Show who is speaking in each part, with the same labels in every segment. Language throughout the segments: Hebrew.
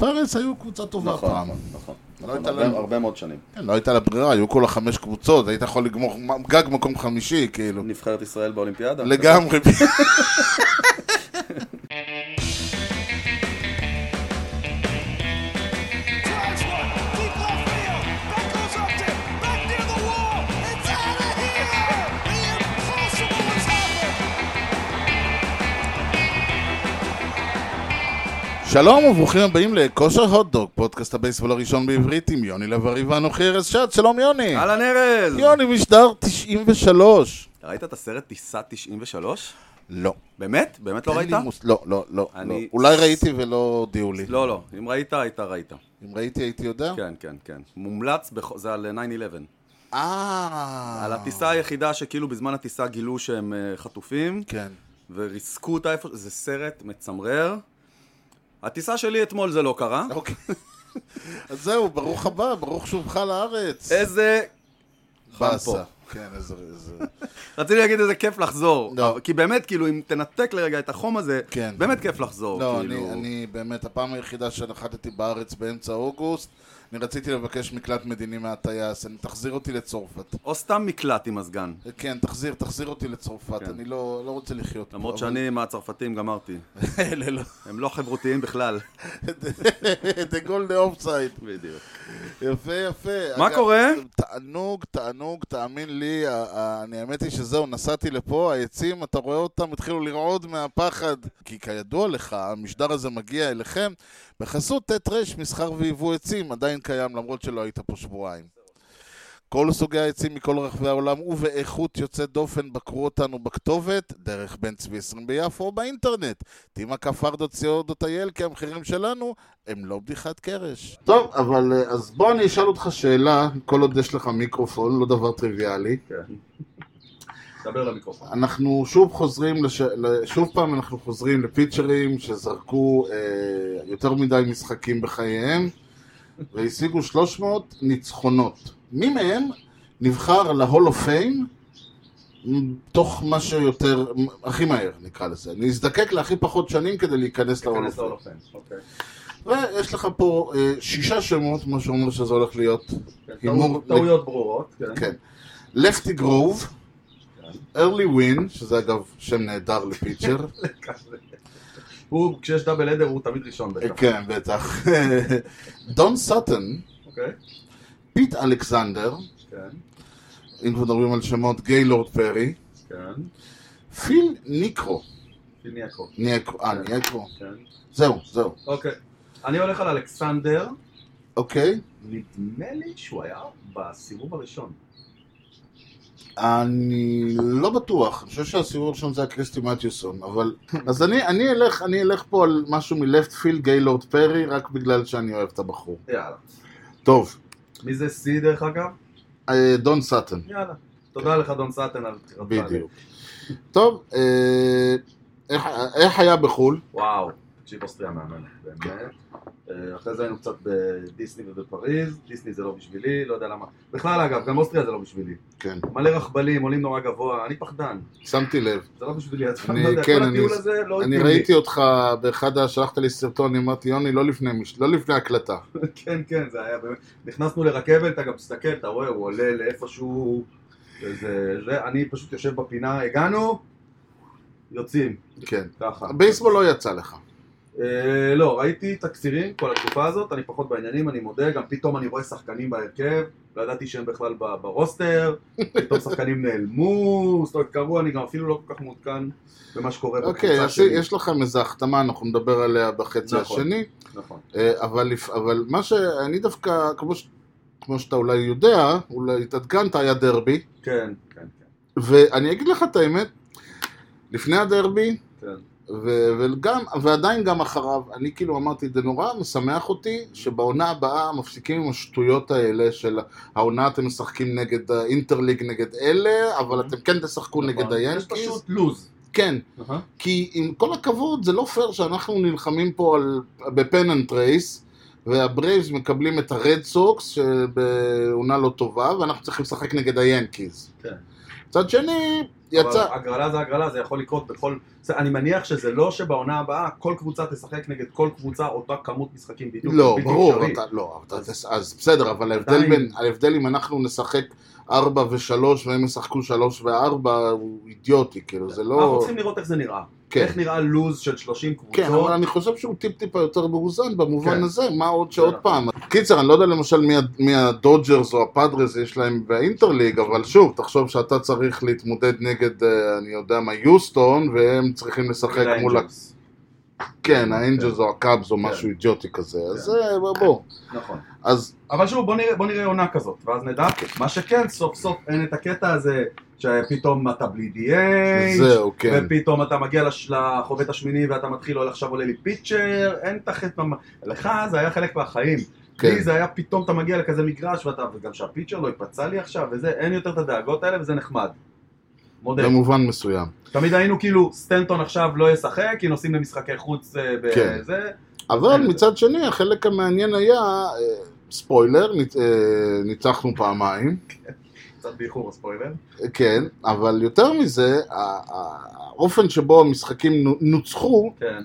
Speaker 1: פרס היו קבוצה טובה
Speaker 2: נכון,
Speaker 1: פעם.
Speaker 2: נכון, נכון.
Speaker 1: לא
Speaker 2: נכון,
Speaker 1: הייתה
Speaker 2: הרבה-
Speaker 1: לנו-
Speaker 2: הרבה מאוד שנים.
Speaker 1: כן, לא הייתה לה ברירה, היו כולה חמש קבוצות, היית יכול לגמור גג מקום חמישי, כאילו.
Speaker 2: נבחרת ישראל באולימפיאדה?
Speaker 1: לגמרי.
Speaker 3: Drives one, deep left field. That goes up to back near the wall. It's out of here. The impossible has happened.
Speaker 1: שלום וברוכים הבאים לכושר הוטדוג, פודקאסט הבייסבול הראשון בעברית עם יוני לב-ארי ואנוכי ארז שץ, שלום יוני.
Speaker 2: אהלן ארז!
Speaker 1: יוני משדר 93.
Speaker 2: ראית את הסרט טיסה 93?
Speaker 1: לא.
Speaker 2: באמת? באמת לא
Speaker 1: אין
Speaker 2: ראית?
Speaker 1: לי מוס- לא, לא, לא.
Speaker 2: אני-
Speaker 1: לא. אולי ראיתי ולא הודיעו לי.
Speaker 2: לא, לא. אם ראית, היית ראית.
Speaker 1: אם ראיתי הייתי יודע?
Speaker 2: כן, כן, כן. מומלץ, בכל- זה על 9-11.
Speaker 1: אה.
Speaker 2: על הטיסה היחידה שכאילו בזמן הטיסה גילו שהם אה, חטופים,
Speaker 1: כן.
Speaker 2: וריסקו אותה איפה... זה סרט מצמרר. הטיסה שלי אתמול זה לא קרה.
Speaker 1: אוקיי. אז זהו, ברוך הבא, ברוך שובך לארץ.
Speaker 2: איזה...
Speaker 1: באסה.
Speaker 2: פה.
Speaker 1: כן, איזה... איזה-
Speaker 2: רציתי להגיד איזה כיף לחזור.
Speaker 1: לא.
Speaker 2: אבל- כי באמת, כאילו, אם תנתק לרגע את החום הזה,
Speaker 1: כן.
Speaker 2: באמת כיף לחזור.
Speaker 1: לא,
Speaker 2: כאילו...
Speaker 1: אני, אני באמת, הפעם היחידה שנחתתי בארץ באמצע אוגוסט, אני רציתי לבקש מקלט מדיני מהטייס, אני, תחזיר אותי לצרפת.
Speaker 2: או סתם מקלט עם מזגן.
Speaker 1: כן, תחזיר, תחזיר אותי לצרפת,
Speaker 2: כן.
Speaker 1: אני לא, לא רוצה לחיות. פה,
Speaker 2: למרות
Speaker 1: אבל-
Speaker 2: שאני עם הצרפתים גמרתי.
Speaker 1: אלה לא.
Speaker 2: הם לא חברותיים בכלל.
Speaker 1: זה גול דה אופסייד.
Speaker 2: בדיוק.
Speaker 1: יפה, יפה.
Speaker 2: מה
Speaker 1: אגב,
Speaker 2: קורה?
Speaker 1: תענוג, תענוג, תאמין לי, ה- ה- אני האמת היא שזהו, נסעתי לפה, העצים, אתה רואה אותם, התחילו לרעוד מהפחד. כי כידוע לך, המשדר הזה מגיע אליכם בחסות ט' ר' מסחר ויבוא עצים, עדיין קיים למרות שלא היית פה שבועיים. כל סוגי העצים מכל רחבי העולם ובאיכות יוצאת דופן בקרו אותנו בכתובת, דרך בן צבי 20 ביפו או באינטרנט. timakafar.co.il כי המחירים שלנו הם לא בדיחת קרש. טוב, אבל אה, אז בוא אני אשאל אותך שאלה, כל עוד יש לך מיקרופון, לא דבר טריוויאלי.
Speaker 2: דבר למיקרופון.
Speaker 1: אנחנו שוב חוזרים, לש... ל- שוב פעם אנחנו חוזרים לפיצ'רים שזרקו אה, יותר מדי משחקים בחייהם והשיגו 300 ניצחונות. מי מהם נבחר להול אוף פיים תוך מה שיותר, הכי מהר נקרא לזה. נזדקק להכי פחות שנים כדי להיכנס להול אוף פיים.
Speaker 2: אוקיי?
Speaker 1: ויש לך פה אה, שישה שמות, מה שאומר שזה הולך להיות הימור.
Speaker 2: כן, ברורות.
Speaker 1: כן. לפטי גרוב, ארלי ווין, שזה אגב שם נהדר לפיצ'ר,
Speaker 2: הוא, כשיש דאבל אדר הוא תמיד ראשון
Speaker 1: אה, כן בטח, דון סאטן,
Speaker 2: אוקיי?
Speaker 1: פיט אלכסנדר,
Speaker 2: כן,
Speaker 1: אם כבר מדברים על שמות גיילורד פרי,
Speaker 2: כן.
Speaker 1: פיל ניקרו, ניקרו, אה ניקרו, זהו זהו,
Speaker 2: כן. אוקיי. אני הולך על אלכסנדר.
Speaker 1: אוקיי,
Speaker 2: נדמה לי שהוא היה בסיבוב הראשון.
Speaker 1: אני לא בטוח, אני חושב שהסיבוב הראשון זה היה קריסטי מתיוסון, אבל, אז אני, אני אלך, אני אלך פה על משהו מלפט פיל גיילורד פרי, רק בגלל שאני אוהב את הבחור.
Speaker 2: יאללה.
Speaker 1: טוב,
Speaker 2: מי זה סי דרך אגב?
Speaker 1: אה, דון סאטן.
Speaker 2: יאללה. תודה לך דון סאטן על בחירתך.
Speaker 1: בדיוק. טוב, אה, איך- איך היה בחו"ל?
Speaker 2: וואו, צ'יפ אוסטריה מאמן, באמת. אה, אחרי זה היינו קצת בדיסני ובפריז, דיסני זה לא בשבילי, לא יודע למה. בכלל אגב, גם אוסטריה זה לא בשבילי.
Speaker 1: כן,
Speaker 2: מלא רכבלים, עולים נורא גבוה, אני פחדן,
Speaker 1: שמתי לב.
Speaker 2: זה לא בשבילי, אז
Speaker 1: אני-
Speaker 2: אני לא יודע,
Speaker 1: כן,
Speaker 2: כל
Speaker 1: אני-
Speaker 2: הטיול הזה לא
Speaker 1: אני
Speaker 2: התאים לי.
Speaker 1: ראיתי אותך באחד, ה- שלחת לי סרטון, אני אמרתי, יוני, לא לפני מש- לא לפני הקלטה.
Speaker 2: כן, כן, זה היה באמת. נכנסנו לרכבת, אתה גם מסתכל, אתה רואה, הוא עולה לאיפשהו, וזה, זה, אני פשוט יושב בפינה, הגענו, יוצאים,
Speaker 1: כן.
Speaker 2: ככה.
Speaker 1: הבייסבול לא יצא לך.
Speaker 2: אה, לא, ראיתי תקצירים כל התקופה הזאת, אני פחות בעניינים, אני מודה, גם פתאום אני רואה שחקנים בהרכב, לא ידעתי שהם בכלל ב- ברוסטר, פתאום שחקנים נעלמו, זאת אומרת, קרו, אני גם אפילו לא כל כך מעודכן במה שקורה
Speaker 1: אוקיי,
Speaker 2: בקבוצה
Speaker 1: אז
Speaker 2: שלי.
Speaker 1: יש לכם איזה החתמה, אנחנו נדבר עליה בחצי
Speaker 2: נכון.
Speaker 1: השני.
Speaker 2: נכון.
Speaker 1: אה, אבל לפ- אבל מה שאני דווקא, כמו ש- כמו שאתה אולי יודע, אולי התעדכנת, היה דרבי.
Speaker 2: כן, כן, כן,
Speaker 1: ואני אגיד לך את האמת, לפני הדרבי,
Speaker 2: כן.
Speaker 1: ו- וגם, ועדיין גם אחריו, אני כאילו אמרתי, זה נורא משמח אותי שבעונה הבאה מפסיקים עם השטויות האלה של העונה אתם משחקים נגד האינטרליג נגד אלה, אבל אתם כן תשחקו נגד
Speaker 2: נכון. יש
Speaker 1: היאנקיז.
Speaker 2: פשוט לוז.
Speaker 1: כן,
Speaker 2: אהה.
Speaker 1: כי עם כל הכבוד זה לא פייר שאנחנו נלחמים פה על, בפן אנד טרייס, והברייבס מקבלים את הרד סוקס שבעונה לא טובה, ואנחנו צריכים לשחק נגד היאנקיז.
Speaker 2: כן.
Speaker 1: מצד שני,
Speaker 2: אבל
Speaker 1: יצא.
Speaker 2: הגרלה זה הגרלה, זה יכול לקרות בכל... זה- אני מניח שזה לא שבעונה הבאה כל קבוצה תשחק נגד כל קבוצה אותה כמות משחקים בדיוק.
Speaker 1: לא,
Speaker 2: זה בלתי
Speaker 1: ברור,
Speaker 2: אפשרי.
Speaker 1: אתה, לא, אתה, אז בסדר, אבל ההבדל
Speaker 2: עדיין-
Speaker 1: בין, ההבדל אם אנחנו נשחק 4 ו-3 והם ישחקו 3 ו-4 הוא אידיוטי, כאילו, זה
Speaker 2: אנחנו
Speaker 1: לא...
Speaker 2: צריכים לראות איך זה נראה.
Speaker 1: כן,
Speaker 2: איך נראה לוז של 30 קבוצות.
Speaker 1: כן, אבל אני חושב שהוא טיפ-טיפה יותר מאוזן במובן
Speaker 2: כן.
Speaker 1: הזה, מה עוד
Speaker 2: זה
Speaker 1: שעוד פעם.
Speaker 2: נכון.
Speaker 1: קיצר, אני לא יודע למשל מי ה- מי הדודג'רס או הפאדרס יש להם באינטרליג, אבל שוב, תחשוב שאתה צריך להתמודד נגד, אה, אני יודע מה, יוסטון, והם צריכים לשחק
Speaker 2: לאנג'לס.
Speaker 1: מול... ה- כן, האנג'לס או הקאבס
Speaker 2: כן.
Speaker 1: או משהו אידיוטי כזה, אז זה, בוא, בוא.
Speaker 2: נכון.
Speaker 1: אז
Speaker 2: אבל שוב, בוא נראה, בוא נראה עונה כזאת, ואז נדע. מה שכן, סוף סוף אין את הקטע הזה, שפתאום אתה בלי DH,
Speaker 1: זהו, כן.
Speaker 2: ופתאום אתה מגיע לש- לחובט השמיני ואתה מתחיל, "אולי עכשיו עולה לי פיצ'ר, אין את החטא, ממ- לך זה היה חלק מהחיים.
Speaker 1: כן.
Speaker 2: כן. לי זה היה פתאום אתה מגיע לכזה מגרש, ואתה, וגם שהפיצ'ר לא ייפצע לי עכשיו, וזה, אין יותר את הדאגות האלה, וזה נחמד. מודה.
Speaker 1: במובן מסוים.
Speaker 2: תמיד היינו כאילו, סטנטון עכשיו לא ישחק, כי נוסעים למשחקי חוץ אה,
Speaker 1: כן.
Speaker 2: בזה.
Speaker 1: אבל
Speaker 2: כן.
Speaker 1: מצד שני, החלק המעניין היה, אה, ספוילר, ניצ- אה, ניצחנו פעמיים,
Speaker 2: קצת באיחור הספוילר.
Speaker 1: אה, כן, אבל יותר מזה, ה- ה- האופן שבו המשחקים נו- נוצחו,
Speaker 2: כן.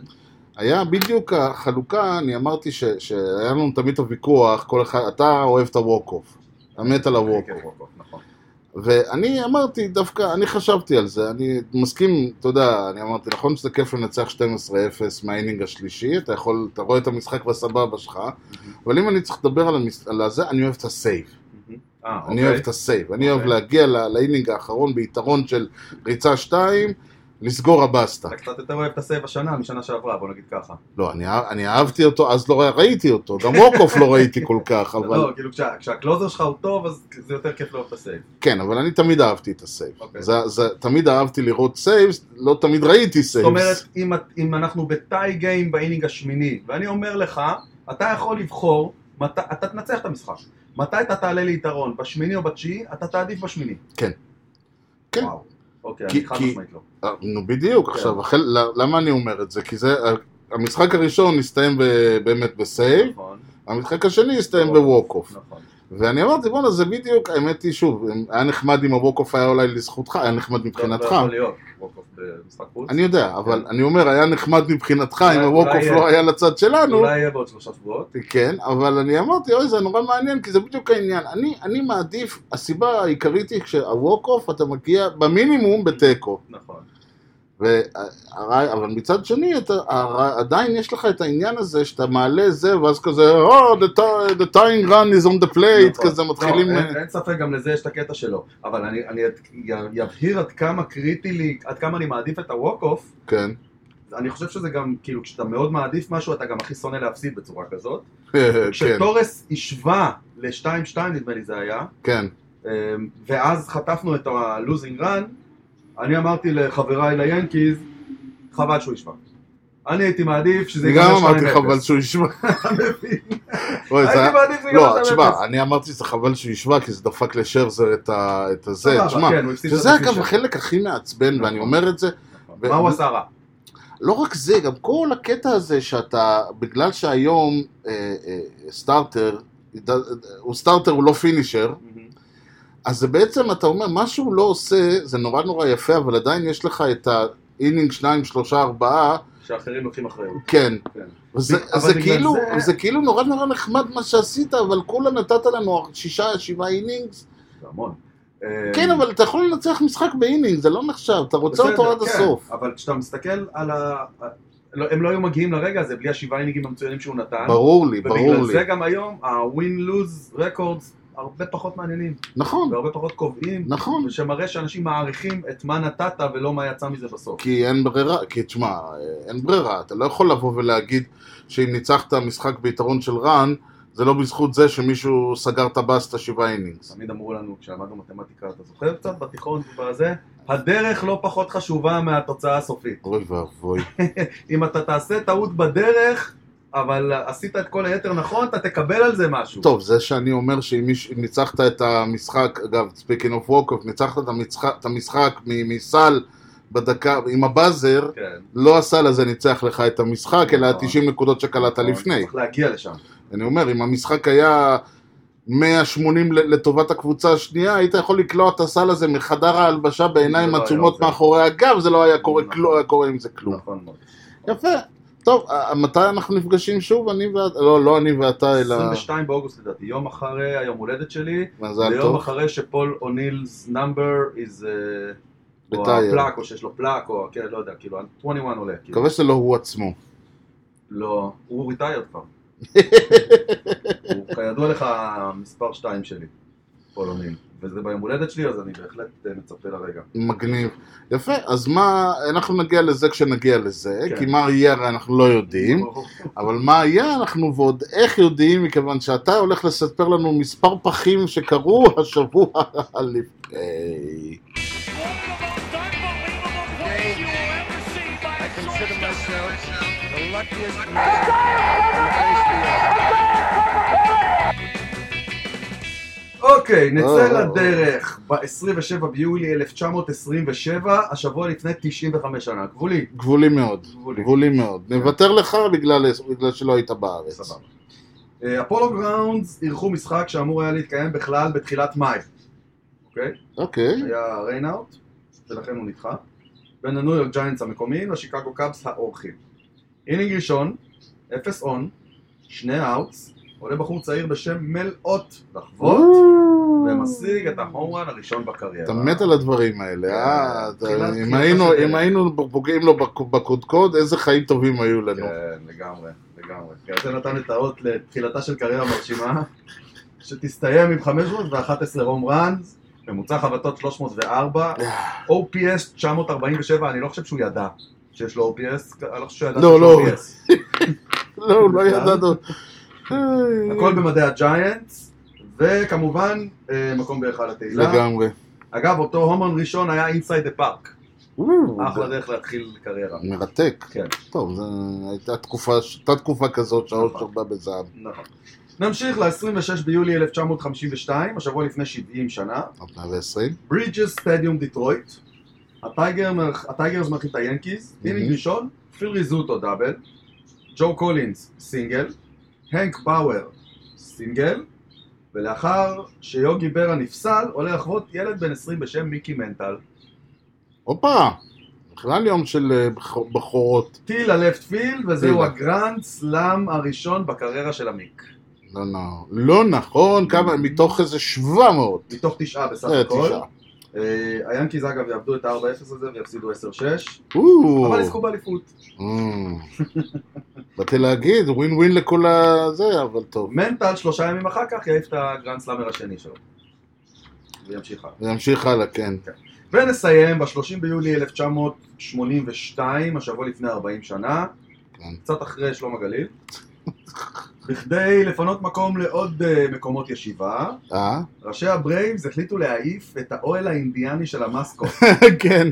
Speaker 1: היה בדיוק החלוקה, אני אמרתי ש- שהיה לנו תמיד את הוויכוח, כל אחד, אתה אוהב את הווק-אוף, אתה מת על הווק-אוף.
Speaker 2: כן, ווקאפ, נכון.
Speaker 1: ואני אמרתי, דווקא, אני חשבתי על זה, אני מסכים, אתה יודע, אני אמרתי, נכון שזה כיף לנצח 12-0 מהאינינג השלישי, אתה יכול, אתה רואה את המשחק בסבבה שלך, אבל אם אני צריך לדבר על, המס... על הזה, אני אוהב את הסייב.
Speaker 2: אה, אוקיי.
Speaker 1: אני אוהב את הסייב. אני אוהב
Speaker 2: אוקיי.
Speaker 1: להגיע ל- לאינינג האחרון ביתרון של ריצה 2, לסגור הבסטה.
Speaker 2: אתה קצת יותר אוהב את הסייב השנה משנה שעברה, בוא נגיד ככה.
Speaker 1: לא, אני, אה- אני אהבתי אותו, אז לא רא- ראיתי אותו. גם ווקוף לא ראיתי כל כך, אבל...
Speaker 2: לא, כאילו כשה- כשהקלוזר שלך הוא טוב, אז זה יותר כיף לאהוב את הסייב.
Speaker 1: כן, אבל אני תמיד אהבתי את הסייב.
Speaker 2: אוקיי.
Speaker 1: זה, זה, תמיד אהבתי לראות סייבס, לא תמיד ראיתי סייבס.
Speaker 2: זאת אומרת, אם את- אם אנחנו בטאי גיים באינינג השמיני, ואני אומר לך, אתה יכול לבחור, מת- אתה תנצח את המשחק. מתי אתה תעלה ליתרון, בשמיני או בתשיעי, אתה תעדיף בשמיני.
Speaker 1: כן. כן.
Speaker 2: וואו. אוקיי,
Speaker 1: כי-
Speaker 2: אני חד
Speaker 1: כי-
Speaker 2: משמעית לא.
Speaker 1: אה, נו בדיוק,
Speaker 2: כן.
Speaker 1: עכשיו, החל... ל- למה אני אומר את זה? כי זה, ה- המשחק הראשון הסתיים ב... באמת בסייב,
Speaker 2: נכון,
Speaker 1: המשחק השני הסתיים בווק-אוף.
Speaker 2: נכון.
Speaker 1: ואני אמרתי, בואנה, זה בדיוק, האמת היא, שוב, היה נחמד אם הווק-אוף היה אולי לזכותך, היה נחמד
Speaker 2: לא
Speaker 1: מבחינתך.
Speaker 2: יכול להיות, ווקאפ במשחק חוץ.
Speaker 1: אני יודע, אבל אני אומר, היה נחמד מבחינתך אם
Speaker 2: כן. אולי-
Speaker 1: הווק-אוף
Speaker 2: אולי-
Speaker 1: לא היה לצד שלנו.
Speaker 2: אולי יהיה בעוד שלושה שבועות.
Speaker 1: כן, אבל אני אמרתי, אוי, זה נורא מעניין, כי זה בדיוק העניין. אני, אני מעדיף, הסיבה העיקרית היא כשהווק-אוף אתה מגיע במינימום בתיקו.
Speaker 2: נכון.
Speaker 1: והרעי- אבל מצד שני, אתה, הר- עדיין יש לך את העניין הזה שאתה מעלה זה, ואז כזה, oh, the, ti- the tying run is on the plate,
Speaker 2: נכון.
Speaker 1: כזה מתחילים... אה,
Speaker 2: לא, אין- אין ספק, גם לזה יש את הקטע שלו. אבל אני- אני את- י- יבהיר עד כמה קריטי לי, עד כמה אני מעדיף את הווקאוף,
Speaker 1: כן.
Speaker 2: אני חושב שזה גם, כאילו, כשאתה מאוד מעדיף משהו, אתה גם הכי שונא להפסיד בצורה כזאת.
Speaker 1: כן,
Speaker 2: כשתורס השווה ל-2-2, נדמה לי זה היה,
Speaker 1: כן.
Speaker 2: אמ, ואז חטפנו את ה-losing run, אני אמרתי לחבריי ליאנקיז, חבל שהוא השווה. אני הייתי מעדיף שזה
Speaker 1: אני גם אמרתי
Speaker 2: 2-0.
Speaker 1: חבל שהוא ישמע.
Speaker 2: אתה מבין?
Speaker 1: אוי, זה היה-
Speaker 2: הייתי מעדיף שזה
Speaker 1: לא,
Speaker 2: ייגמר 2-0.
Speaker 1: תשמע, אני אמרתי שזה חבל שהוא ישמע, כי זה דפק לשרזר את ה- את הזה,
Speaker 2: סבבה,
Speaker 1: תשמע.
Speaker 2: כן, הוא הפסיד את
Speaker 1: שזה אגב
Speaker 2: הפסיד שלו.
Speaker 1: החלק הכי מעצבן,
Speaker 2: נכון.
Speaker 1: ואני אומר את זה, ו-
Speaker 2: מה הוא עשה רע?
Speaker 1: לא רק זה, גם כל הקטע הזה שאתה, בגלל שהיום אה, אה, סטארטר, הוא סטארטר, הוא לא פינישר, אז זה בעצם, אתה אומר, מה שהוא לא עושה, זה נורא נורא יפה, אבל עדיין יש לך את האינינג שניים, שלושה, ארבעה,
Speaker 2: שאחרים לוקחים אחריות.
Speaker 1: כן.
Speaker 2: כן.
Speaker 1: וזה,
Speaker 2: אבל
Speaker 1: זה,
Speaker 2: בגלל
Speaker 1: כאילו, זה...
Speaker 2: זה-
Speaker 1: כאילו נורא נורא נחמד מה שעשית, אבל כולה נתת לנו שישה, שבעה אינינגס.
Speaker 2: זה המון.
Speaker 1: כן,
Speaker 2: אמ,
Speaker 1: אבל אתה יכול לנצח משחק באינינג, זה לא נחשב, אתה רוצה
Speaker 2: בסדר,
Speaker 1: אותו עד
Speaker 2: כן,
Speaker 1: הסוף.
Speaker 2: אבל כשאתה מסתכל על ה... לא, הם לא היו מגיעים לרגע הזה בלי השבעה אינינגים המצוינים שהוא נתן.
Speaker 1: ברור לי, ברור
Speaker 2: ובגלל
Speaker 1: לי.
Speaker 2: זה גם היום ה-win-lose records הרבה פחות מעניינים,
Speaker 1: נכון,
Speaker 2: והרבה פחות קובעים,
Speaker 1: נכון.
Speaker 2: ושמראה שאנשים מעריכים את מה נתת ולא מה יצא מזה בסוף.
Speaker 1: כי אין ברירה, כי תשמע, אין ברירה, אתה לא יכול לבוא ולהגיד שאם ניצחת משחק ביתרון של רן, זה לא בזכות זה שמישהו סגר את הבאסטה שבעה אינינגס.
Speaker 2: תמיד אמרו לנו, כשלמדנו מתמטיקה, אתה זוכר קצת בתיכון ובזה? הדרך לא פחות חשובה מהתוצאה הסופית.
Speaker 1: אוי ואבוי.
Speaker 2: אם אתה תעשה טעות בדרך, אבל עשית את כל היתר נכון, אתה תקבל על זה משהו.
Speaker 1: טוב, זה שאני אומר שאם מיש- אם ניצחת את המשחק, אגב, speaking of walk-off, ניצחת את המשחק, את המשחק מ- מסל בדקה, עם הבאזר,
Speaker 2: כן.
Speaker 1: לא הסל הזה ניצח לך את המשחק, אלא
Speaker 2: נכון.
Speaker 1: ה-90 נקודות שקלעת
Speaker 2: נכון,
Speaker 1: לפני.
Speaker 2: צריך להגיע לשם.
Speaker 1: אני אומר, אם המשחק היה 180 ל- לטובת הקבוצה השנייה, היית יכול לקלוע את הסל הזה מחדר ההלבשה בעיניים
Speaker 2: זה לא
Speaker 1: עצומות
Speaker 2: היה עובר.
Speaker 1: מאחורי הגב, זה לא היה קורה,
Speaker 2: נכון.
Speaker 1: כלום, היה קורה עם זה כלום.
Speaker 2: נכון מאוד.
Speaker 1: יפה. טוב, ה- מתי אנחנו נפגשים שוב? אני ואתה, לא, לא אני ואתה, אלא
Speaker 2: 22 באוגוסט לדעתי, יום אחרי היום הולדת שלי,
Speaker 1: מזל
Speaker 2: ויום
Speaker 1: טוב.
Speaker 2: אחרי שפול אוניל's number is... אה, או
Speaker 1: בטייל.
Speaker 2: הפלאק, או שיש לו פלאק, או כן, לא יודע, כאילו, 21 עולה, כאילו.
Speaker 1: מקווה שזה לא הוא עצמו.
Speaker 2: לא, הוא ריטיירד כבר. הוא כידוע לך מספר 2 שלי, פולונים. וזה ביום הולדת שלי, אז אני בהחלט אה, מצפה לרגע.
Speaker 1: מגניב. יפה, אז מה, אנחנו נגיע לזה כשנגיע לזה,
Speaker 2: כן.
Speaker 1: כי מה יהיה הרי אנחנו לא יודעים, אבל מה יהיה אנחנו ועוד איך יודעים, מכיוון שאתה הולך לספר לנו מספר פחים שקרו השבוע לפני.
Speaker 3: I consider myself the luckiest man.
Speaker 2: אוקיי, נצא
Speaker 1: אה.
Speaker 2: לדרך. ב-27 ביולי 1927, השבוע לפני 95 שנה. גבולי.
Speaker 1: גבולי מאוד,
Speaker 2: גבולי.
Speaker 1: גבולי מאוד. נוותר לך בגלל בגלל שלא היית בארץ.
Speaker 2: כן. סבבה. אה, הפולו גראונדס אירחו משחק שאמור היה להתקיים בכלל בתחילת מאי. אוקיי?
Speaker 1: אוקיי,
Speaker 2: היה ריינאוט, ולכן הוא נדחה, בין הניו יורק ג'יינטס המקומיים לשיקגו קאבס האורחים. אינינג ראשון, אפס און, שני אאוטס, עולה בחור צעיר בשם מלאות לחוות, ומשיג את ההומרן הראשון בקריירה.
Speaker 1: אתה מת על הדברים האלה, אה? אתה-
Speaker 2: תחילת-
Speaker 1: אם
Speaker 2: תחילת
Speaker 1: היינו-
Speaker 2: הדרך.
Speaker 1: אם היינו פוגעים לו בק- בקודקוד, איזה חיים טובים היו לנו.
Speaker 2: כן, לגמרי, לגמרי. כי זה נתן את האות לתחילתה של קריירה מרשימה, שתסתיים עם 511 הום ראנס, ממוצע חבטות 304, OPS 947, אני לא חושב שהוא ידע שיש לו OPS, אני לא חושב שהוא ידע
Speaker 1: לא,
Speaker 2: שיש לו
Speaker 1: לא.
Speaker 2: OPS.
Speaker 1: לא, הוא לא
Speaker 2: בכלל?
Speaker 1: ידענו. איי.
Speaker 2: כן. הכל במדעי הג'יינטס, וכמובן, אה, מקום בהיכל התהילה.
Speaker 1: לגמרי.
Speaker 2: אגב, אותו הומון ראשון היה אינסייד דה פארק. אחלה דרך להתחיל קריירה.
Speaker 1: מרתק.
Speaker 2: כן.
Speaker 1: טוב, זו הייתה תקופה, הייתה תקופה כזאת שהאושר שרבה בזהב.
Speaker 2: נכון. נמשיך ל-26 ביולי 1952, השבוע לפני 70 שנה,
Speaker 1: עד 120.
Speaker 2: ברידג'ס סטדיום דיטרויט, הטייגר מר- הטייגרס מארחים את היאנקיז,
Speaker 1: Mhm.
Speaker 2: אינינג ראשון, פיל ריזוטו דאבל, ג'ו קולינס סינגל, הנק באואר סינגל, ולאחר שיוגי ברה נפסל, עולה לחוות ילד בן 20 בשם מיקי מנטל,
Speaker 1: הופה! בכלל יום של אה, בח- בחורות.
Speaker 2: טיל הלפט פיל, וזהו
Speaker 1: טיל.
Speaker 2: הגרנד סלאם הראשון בקריירה של המיק.
Speaker 1: לא, נ- לא נכון, כמה, מתוך איזה 700.
Speaker 2: מתוך תשעה בסך
Speaker 1: אה,
Speaker 2: הכל.
Speaker 1: תשעה.
Speaker 2: אה, היאנקיז אגב יאבדו את ה-4-0 הזה ויפסידו 10-6,
Speaker 1: או.
Speaker 2: אבל יזכו באליפות.
Speaker 1: אה. באתי להגיד, ווין ווין לכל הזה, אבל טוב.
Speaker 2: מנטל שלושה ימים אחר כך יעיף את הגרנד סלאמר השני שלו. וימשיך הלאה.
Speaker 1: נמשיך הלאה, כן.
Speaker 2: ונסיים ב-30 ביולי 1982, השבוע לפני 40 שנה,
Speaker 1: כן.
Speaker 2: קצת אחרי שלום הגליל, בכדי לפנות מקום לעוד אה, מקומות ישיבה,
Speaker 1: אה?
Speaker 2: ראשי הברייבס החליטו להעיף את האוהל האינדיאני של המאסקוט,
Speaker 1: כן,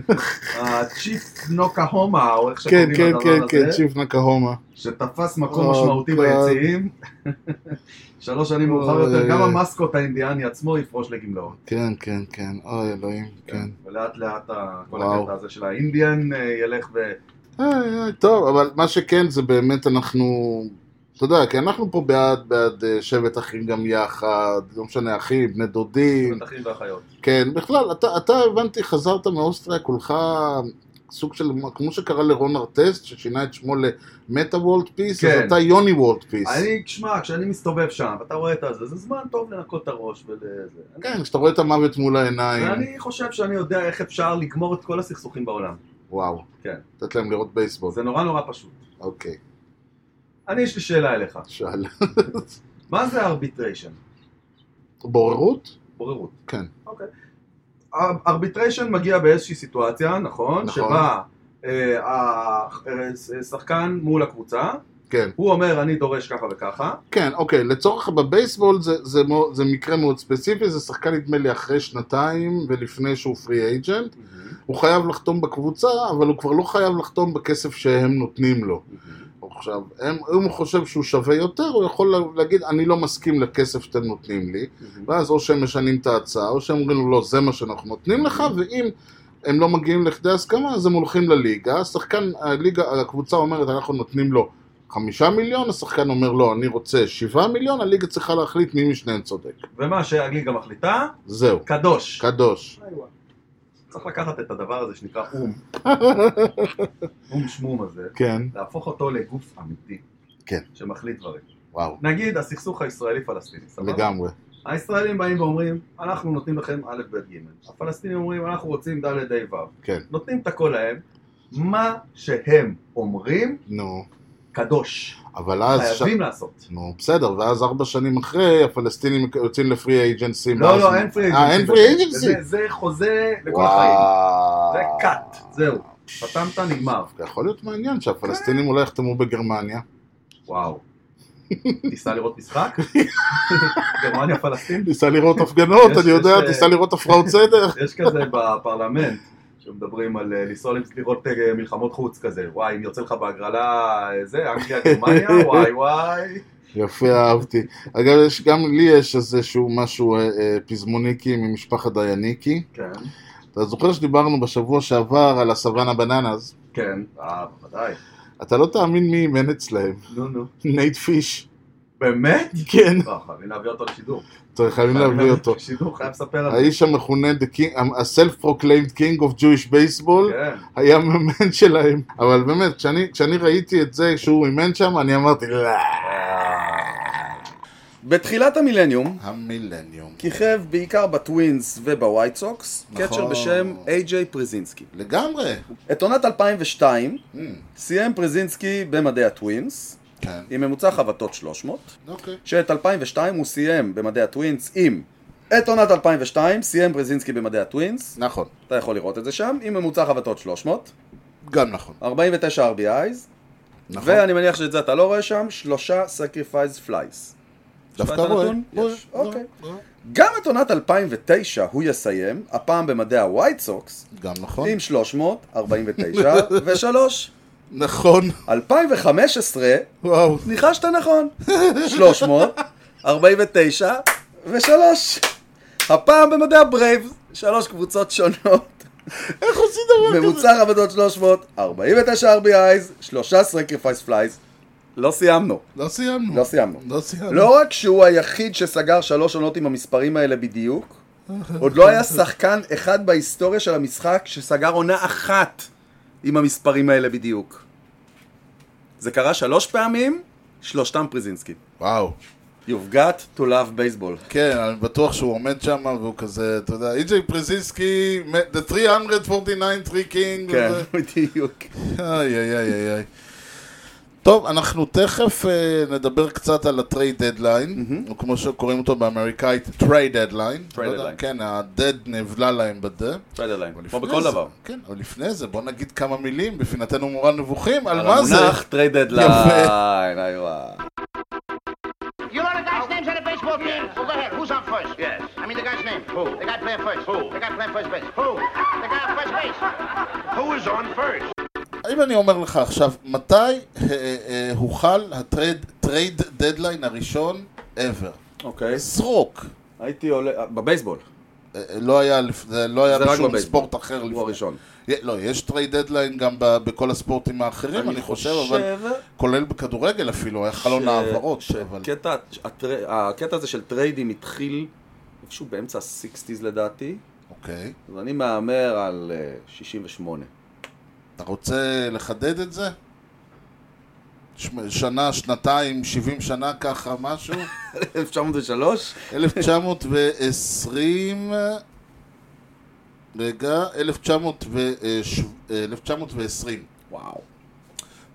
Speaker 2: הצ'יפ נוקהומה, או איך
Speaker 1: כן,
Speaker 2: שקוראים
Speaker 1: כן,
Speaker 2: לדבר
Speaker 1: כן,
Speaker 2: הזה.
Speaker 1: כן, צ'יפ נקהומה.
Speaker 2: שתפס מקום
Speaker 1: Oh,
Speaker 2: משמעותי
Speaker 1: God.
Speaker 2: ביציעים. שלוש שנים מאוחר
Speaker 1: אוי,
Speaker 2: יותר,
Speaker 1: אוי,
Speaker 2: גם
Speaker 1: אוי.
Speaker 2: המסקוט האינדיאני עצמו יפרוש לגמלאות.
Speaker 1: כן, כן, כן. אוי, אלוהים, כן.
Speaker 2: ולאט לאט ה- כל
Speaker 1: וואו.
Speaker 2: הקטע הזה של האינדיאן אה, ילך ו...
Speaker 1: איי, איי, טוב, אבל מה שכן זה באמת אנחנו, אתה יודע, כי אנחנו פה בעד, בעד אה, שבט אחים גם יחד, לא משנה אחים, בני דודים,
Speaker 2: מתחים ואחיות.
Speaker 1: כן, בכלל, אתה, אתה הבנתי, חזרת מאוסטריה, כולך סוג של, כמו שקרה לרון ארטסט, ששינה את שמו למטה וולט פיס, אז
Speaker 2: כן.
Speaker 1: אתה יוני וולט פיס.
Speaker 2: אני, שמע, כשאני מסתובב שם, ואתה רואה את הזה, זה זמן טוב לנקות את הראש ולזה.
Speaker 1: כן, כשאתה רואה את המוות מול העיניים,
Speaker 2: ואני חושב שאני יודע איך אפשר לגמור את כל הסכסוכים בעולם.
Speaker 1: וואו.
Speaker 2: כן.
Speaker 1: לתת להם לראות בייסבול,
Speaker 2: זה נורא נורא פשוט.
Speaker 1: אוקיי,
Speaker 2: אני, יש לי שאלה אליך.
Speaker 1: שאל.
Speaker 2: מה זה ארביטריישן?
Speaker 1: בוררות?
Speaker 2: בוררות.
Speaker 1: כן.
Speaker 2: אוקיי. ארביטריישן מגיע באיזושהי סיטואציה, נכון?
Speaker 1: נכון.
Speaker 2: שבה אה, ה- אה, שחקן מול הקבוצה,
Speaker 1: כן.
Speaker 2: הוא אומר אני דורש ככה וככה,
Speaker 1: כן, אוקיי, לצורך בבייסבול זה, זה, מו- זה מקרה מאוד ספציפי, זה שחקן נדמה לי אחרי שנתיים ולפני שהוא פרי אייג'נט, הוא חייב לחתום בקבוצה, אבל הוא כבר לא חייב לחתום בכסף שהם נותנים לו. עכשיו, הם, אם הוא חושב שהוא שווה יותר, הוא יכול לה- להגיד, אני לא מסכים לכסף שאתם נותנים לי, ואז או שהם משנים את ההצעה, או שהם אומרים לו, לא, זה מה שאנחנו נותנים לך, ואם הם לא מגיעים לכדי הסכמה, אז הם הולכים לליגה, השחקן, הליגה, הקבוצה אומרת, אנחנו נותנים לו חמישה מיליון, השחקן אומר לא, אני רוצה שבעה מיליון, הליגה צריכה להחליט מי משניהם צודק.
Speaker 4: ומה שהגליגה מחליטה,
Speaker 1: זהו,
Speaker 4: קדוש.
Speaker 1: קדוש.
Speaker 4: איי, וואי. צריך לקחת את הדבר הזה שנקרא אום, אום שמום הזה,
Speaker 1: כן,
Speaker 4: להפוך אותו לגוף אמיתי.
Speaker 1: כן.
Speaker 4: שמחליט דברים.
Speaker 1: וואו,
Speaker 4: נגיד הסכסוך הישראלי-פלסטיני, סבבה?
Speaker 1: לגמרי.
Speaker 4: הישראלים באים ואומרים, אנחנו נותנים לכם א', ב', ג', הפלסטינים אומרים, אנחנו רוצים ד', ה', ו'.
Speaker 1: כן.
Speaker 4: נותנים את הכל להם, מה שהם אומרים,
Speaker 1: נו,
Speaker 4: קדוש.
Speaker 1: אבל אז...
Speaker 4: חייבים לעשות.
Speaker 1: נו, בסדר, ואז ארבע שנים אחרי, הפלסטינים יוצאים לפרי אייג'נסי.
Speaker 4: לא,
Speaker 1: ואז-
Speaker 4: לא, אין פרי אייג'נסי.
Speaker 1: אה, אין פרי
Speaker 4: בזה.
Speaker 1: אייג'נסי?
Speaker 4: זה- זה חוזה לכל
Speaker 1: וואו.
Speaker 4: החיים. זה cut, זהו. חתמת, נגמר.
Speaker 1: דווקא יכול להיות
Speaker 4: כן.
Speaker 1: מעניין שהפלסטינים אולי יחתמו בגרמניה.
Speaker 4: וואו. תיסע לראות משחק? גרמניה פלסטין?
Speaker 1: ניסה לראות הפגנות,
Speaker 4: יש-
Speaker 1: אני יודע,
Speaker 4: יש, אה,
Speaker 1: ניסה לראות הפרעות סדר.
Speaker 4: יש כזה בפרלמנט, שמדברים על אה, לנסוע למס- לראות אה, מלחמות חוץ כזה. וואי, אם יוצא לך בהגרלה אה, זה, אנגליה, גרמניה, וואי וואי.
Speaker 1: יפה, אהבתי. אגב, יש- גם לי יש איזשהו משהו אה, אה, פזמוניקי ממשפחת דייניקי.
Speaker 4: כן,
Speaker 1: אתה זוכר שדיברנו בשבוע שעבר על הסוואנה בננז?
Speaker 4: כן, אה, בוודאי.
Speaker 1: אתה לא תאמין מי אימן אצלהם.
Speaker 4: נו, נו.
Speaker 1: נייט פיש.
Speaker 4: באמת?
Speaker 1: כן.
Speaker 4: לא, חייבים להביא אותו לשידור.
Speaker 1: צריך חייבים להביא אותו.
Speaker 4: לשידור, חייב לספר על זה.
Speaker 1: האיש המכונה the king- ה-self proclaimed king of Jewish baseball
Speaker 4: כן.
Speaker 1: היה מאמן שלהם. אבל באמת, כשאני- כשאני ראיתי את זה שהוא אימן שם, אני אמרתי, לא.
Speaker 2: בתחילת המילניום
Speaker 1: המילניום.
Speaker 2: כיכב בעיקר בטווינס ובווייט סוקס,
Speaker 1: נכון.
Speaker 2: קצ'ר בשם איי-ג'יי פרזינסקי.
Speaker 1: לגמרי.
Speaker 2: את עונת 2002
Speaker 1: Mm,
Speaker 2: סיים פרזינסקי במדעי הטווינס,
Speaker 1: כן,
Speaker 2: עם ממוצע חבטות 300,
Speaker 1: אוקיי.
Speaker 2: שאת 2002 הוא סיים במדעי הטווינס עם... את עונת 2002 סיים פרזינסקי במדעי הטווינס,
Speaker 1: נכון.
Speaker 2: אתה יכול לראות את זה שם, עם ממוצע חבטות 300,
Speaker 1: גם נכון.
Speaker 2: 49 RBIs,
Speaker 1: נכון.
Speaker 2: ואני מניח שאת זה אתה לא רואה שם, שלושה sacrifice flies.
Speaker 1: דווקא
Speaker 2: שמעת
Speaker 1: רואה.
Speaker 2: נתון?
Speaker 1: רואה,
Speaker 2: יש. אוקיי.
Speaker 1: רואה, רואה.
Speaker 2: גם את עונת 2009 הוא יסיים, הפעם במדעי הווייט סוקס,
Speaker 1: גם נכון.
Speaker 2: עם 349 ו-3.
Speaker 1: נכון.
Speaker 2: 2015,
Speaker 1: וואו.
Speaker 2: ניחשת נכון, 349 ו-3. הפעם במדעי הברייב, שלוש קבוצות שונות.
Speaker 1: איך עושים דבר כזה?
Speaker 2: ממוצע עבודות 300, 49 RBIs, שלושה סקריפייס פלייז. לא סיימנו.
Speaker 1: לא סיימנו.
Speaker 2: לא סיימנו.
Speaker 1: לא סיימנו.
Speaker 2: לא רק שהוא היחיד שסגר שלוש עונות עם המספרים האלה בדיוק, עוד לא היה שחקן אחד בהיסטוריה של המשחק שסגר עונה אחת עם המספרים האלה בדיוק. זה קרה שלוש פעמים, שלושתם פריזינסקי.
Speaker 1: וואו.
Speaker 2: You've got to love baseball.
Speaker 1: כן, אני בטוח שהוא עומד שם והוא כזה, אתה יודע, אי.ג'יי פרזיסקי, the 349 טרי קינג.
Speaker 2: כן,
Speaker 1: וזה.
Speaker 2: בדיוק.
Speaker 1: איי, איי, איי, איי, איי. טוב, אנחנו תכף uh, נדבר קצת על ה-Trade Deadline, או כמו שקוראים אותו באמריקאית, Trade Deadline. לא יודע,
Speaker 2: Deadline.
Speaker 1: כן, ה-Dead נבלע להם ב-D. אבל
Speaker 2: כמו
Speaker 1: לפני
Speaker 2: בכל
Speaker 1: זה-
Speaker 2: דבר.
Speaker 1: כן, אבל לפני זה, בוא נגיד כמה מילים, בפינתנו מורה נבוכים, על
Speaker 2: על
Speaker 1: מה זה.
Speaker 2: המונח trade deadline, איי וואי.
Speaker 5: You know the guy's names on the baseball team? Well, go ahead. Who's on first? Yes. I mean the guy's name. Who? The guy playing first. Who? The guy playing first base. Who? The guy on first base. Who is on first?
Speaker 1: אם אני אומר לך עכשיו, מתי אה, אה, הוחל ה-Trade Trade Deadline הראשון ever?
Speaker 2: אוקיי,
Speaker 1: זרוק.
Speaker 2: הייתי עולה, בבייסבול,
Speaker 1: אה, אה, לא היה, לפ- זה לא היה
Speaker 2: זה רק
Speaker 1: בשום
Speaker 2: בבייסבול.
Speaker 1: ספורט אחר
Speaker 2: הוא הראשון.
Speaker 1: יה- לא, יש טרייד דדליין גם ב- בכל הספורטים האחרים, אני חושב, אבל כולל בכדורגל אפילו, היה חלון
Speaker 2: ש- כן.
Speaker 1: העברות. אבל-
Speaker 2: שקטע, הטר- הקטע הזה של טריידים התחיל איפשהו באמצע ה-60's לדעתי,
Speaker 1: אוקיי.
Speaker 2: ואני מהמר על אה, 68.
Speaker 1: אתה רוצה לחדד את זה? ש- שנה, שנתיים, 70 שנה, ככה, משהו?
Speaker 2: 1903?
Speaker 1: 1920... רגע, אה, 1920.
Speaker 2: וואו.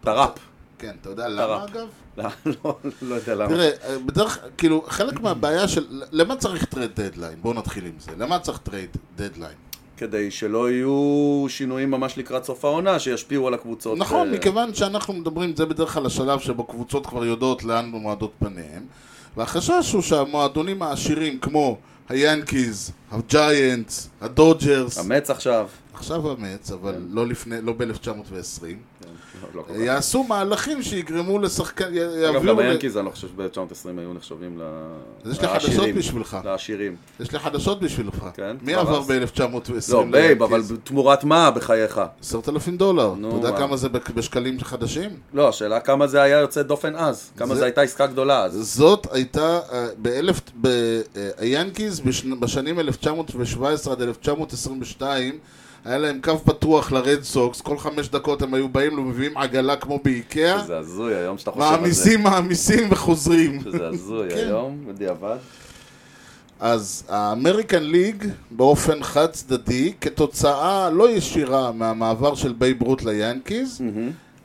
Speaker 2: טראפ.
Speaker 1: כן, אתה יודע למה
Speaker 2: טראפ.
Speaker 1: אגב?
Speaker 2: לא, לא- לא יודע למה.
Speaker 1: תראה, בדרך כלל, כאילו, חלק מהבעיה של... למה צריך טרייד דדליין? בואו נתחיל עם זה. למה צריך טרייד דדליין?
Speaker 2: כדי שלא יהיו שינויים ממש לקראת סוף העונה שישפיעו על הקבוצות.
Speaker 1: נכון,
Speaker 2: אה,
Speaker 1: מכיוון שאנחנו מדברים, זה בדרך כלל השלב שבו קבוצות כבר יודעות לאן מועדות פניהם, והחשש הוא שהמועדונים העשירים כמו היאנקיז, הג'יינטס, הדודג'רס,
Speaker 2: המץ עכשיו. כן.
Speaker 1: עכשיו המץ, אבל לא לפני, לא ב-1920,
Speaker 2: לא כל כך.
Speaker 1: יעשו מהלכים שיגרמו לשחקן...
Speaker 2: אגב,
Speaker 1: יביאו
Speaker 2: גם
Speaker 1: ל-
Speaker 2: היאנקיז, אני לא חושב שב-1920 היו נחשבים ל-
Speaker 1: אז יש לי חדשות
Speaker 2: לעשירים.
Speaker 1: בשבילך.
Speaker 2: לעשירים.
Speaker 1: יש לי חדשות בשבילך.
Speaker 2: לא. כן,
Speaker 1: מי
Speaker 2: כבר
Speaker 1: עבר
Speaker 2: אז.
Speaker 1: ב-1920?
Speaker 2: לא, בייב, אבל תמורת מה בחייך?
Speaker 1: 10,000 דולר.
Speaker 2: נו,
Speaker 1: אתה יודע
Speaker 2: מה.
Speaker 1: כמה זה בק- בשקלים חדשים?
Speaker 2: לא, השאלה כמה זה היה יוצא דופן אז. כמה
Speaker 1: זה-
Speaker 2: זו הייתה עסקה גדולה אז.
Speaker 1: זאת הייתה, אה, באלף, ב, אה, היאנקיז בשנ, בשנים 1917 עד 1922 היה להם קו פתוח לרד סוקס, כל חמש דקות הם היו באים ומביאים עגלה כמו באיקאה,
Speaker 2: זה הזוי היום שאתה חושב על זה.
Speaker 1: מעמיסים, מעמיסים וחוזרים.
Speaker 2: שזה הזוי
Speaker 1: כן.
Speaker 2: היום, בדיעבד.
Speaker 1: אז האמריקן ליג באופן חד צדדי, כתוצאה לא ישירה מהמעבר של בייב רות ליאנקיז,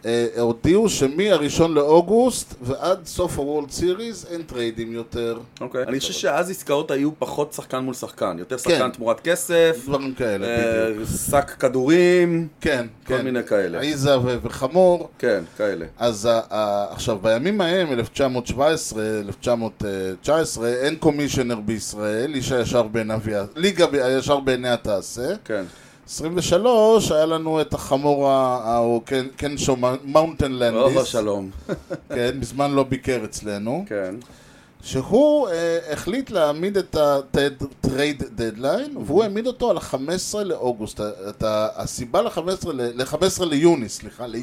Speaker 1: אה, הודיעו שמהראשון לאוגוסט ועד סוף הוולד סיריס אין טריידים יותר.
Speaker 2: אוקיי. אני חושב שאז עסקאות היו פחות שחקן מול שחקן. יותר
Speaker 1: כן.
Speaker 2: שחקן תמורת כסף,
Speaker 1: דברים כאלה,
Speaker 2: אה,
Speaker 1: בדיוק.
Speaker 2: שק כדורים.
Speaker 1: כן,
Speaker 2: כל
Speaker 1: כן.
Speaker 2: מיני כאלה.
Speaker 1: עיזה ו- וחמור.
Speaker 2: כן, כאלה.
Speaker 1: אז ה- ה- עכשיו, בימים ההם, 1917, 1919, אין קומישיונר בישראל, איש הישר בעיניו, יע- ליגה ב- הישר בעיניה תעשה.
Speaker 2: כן.
Speaker 1: 23, היה לנו את החמור, ה- ה- או כן- קן- קנשו מאונטן
Speaker 2: רוב
Speaker 1: לנדיס,
Speaker 2: השלום.
Speaker 1: כן, מזמן לא ביקר אצלנו,
Speaker 2: כן.
Speaker 1: שהוא אה, החליט להעמיד את ה-trade deadline, והוא העמיד אותו על ה-15 לאוגוסט. את ה- הסיבה ל-15 ל-15 ליוני, סליחה,
Speaker 2: אה,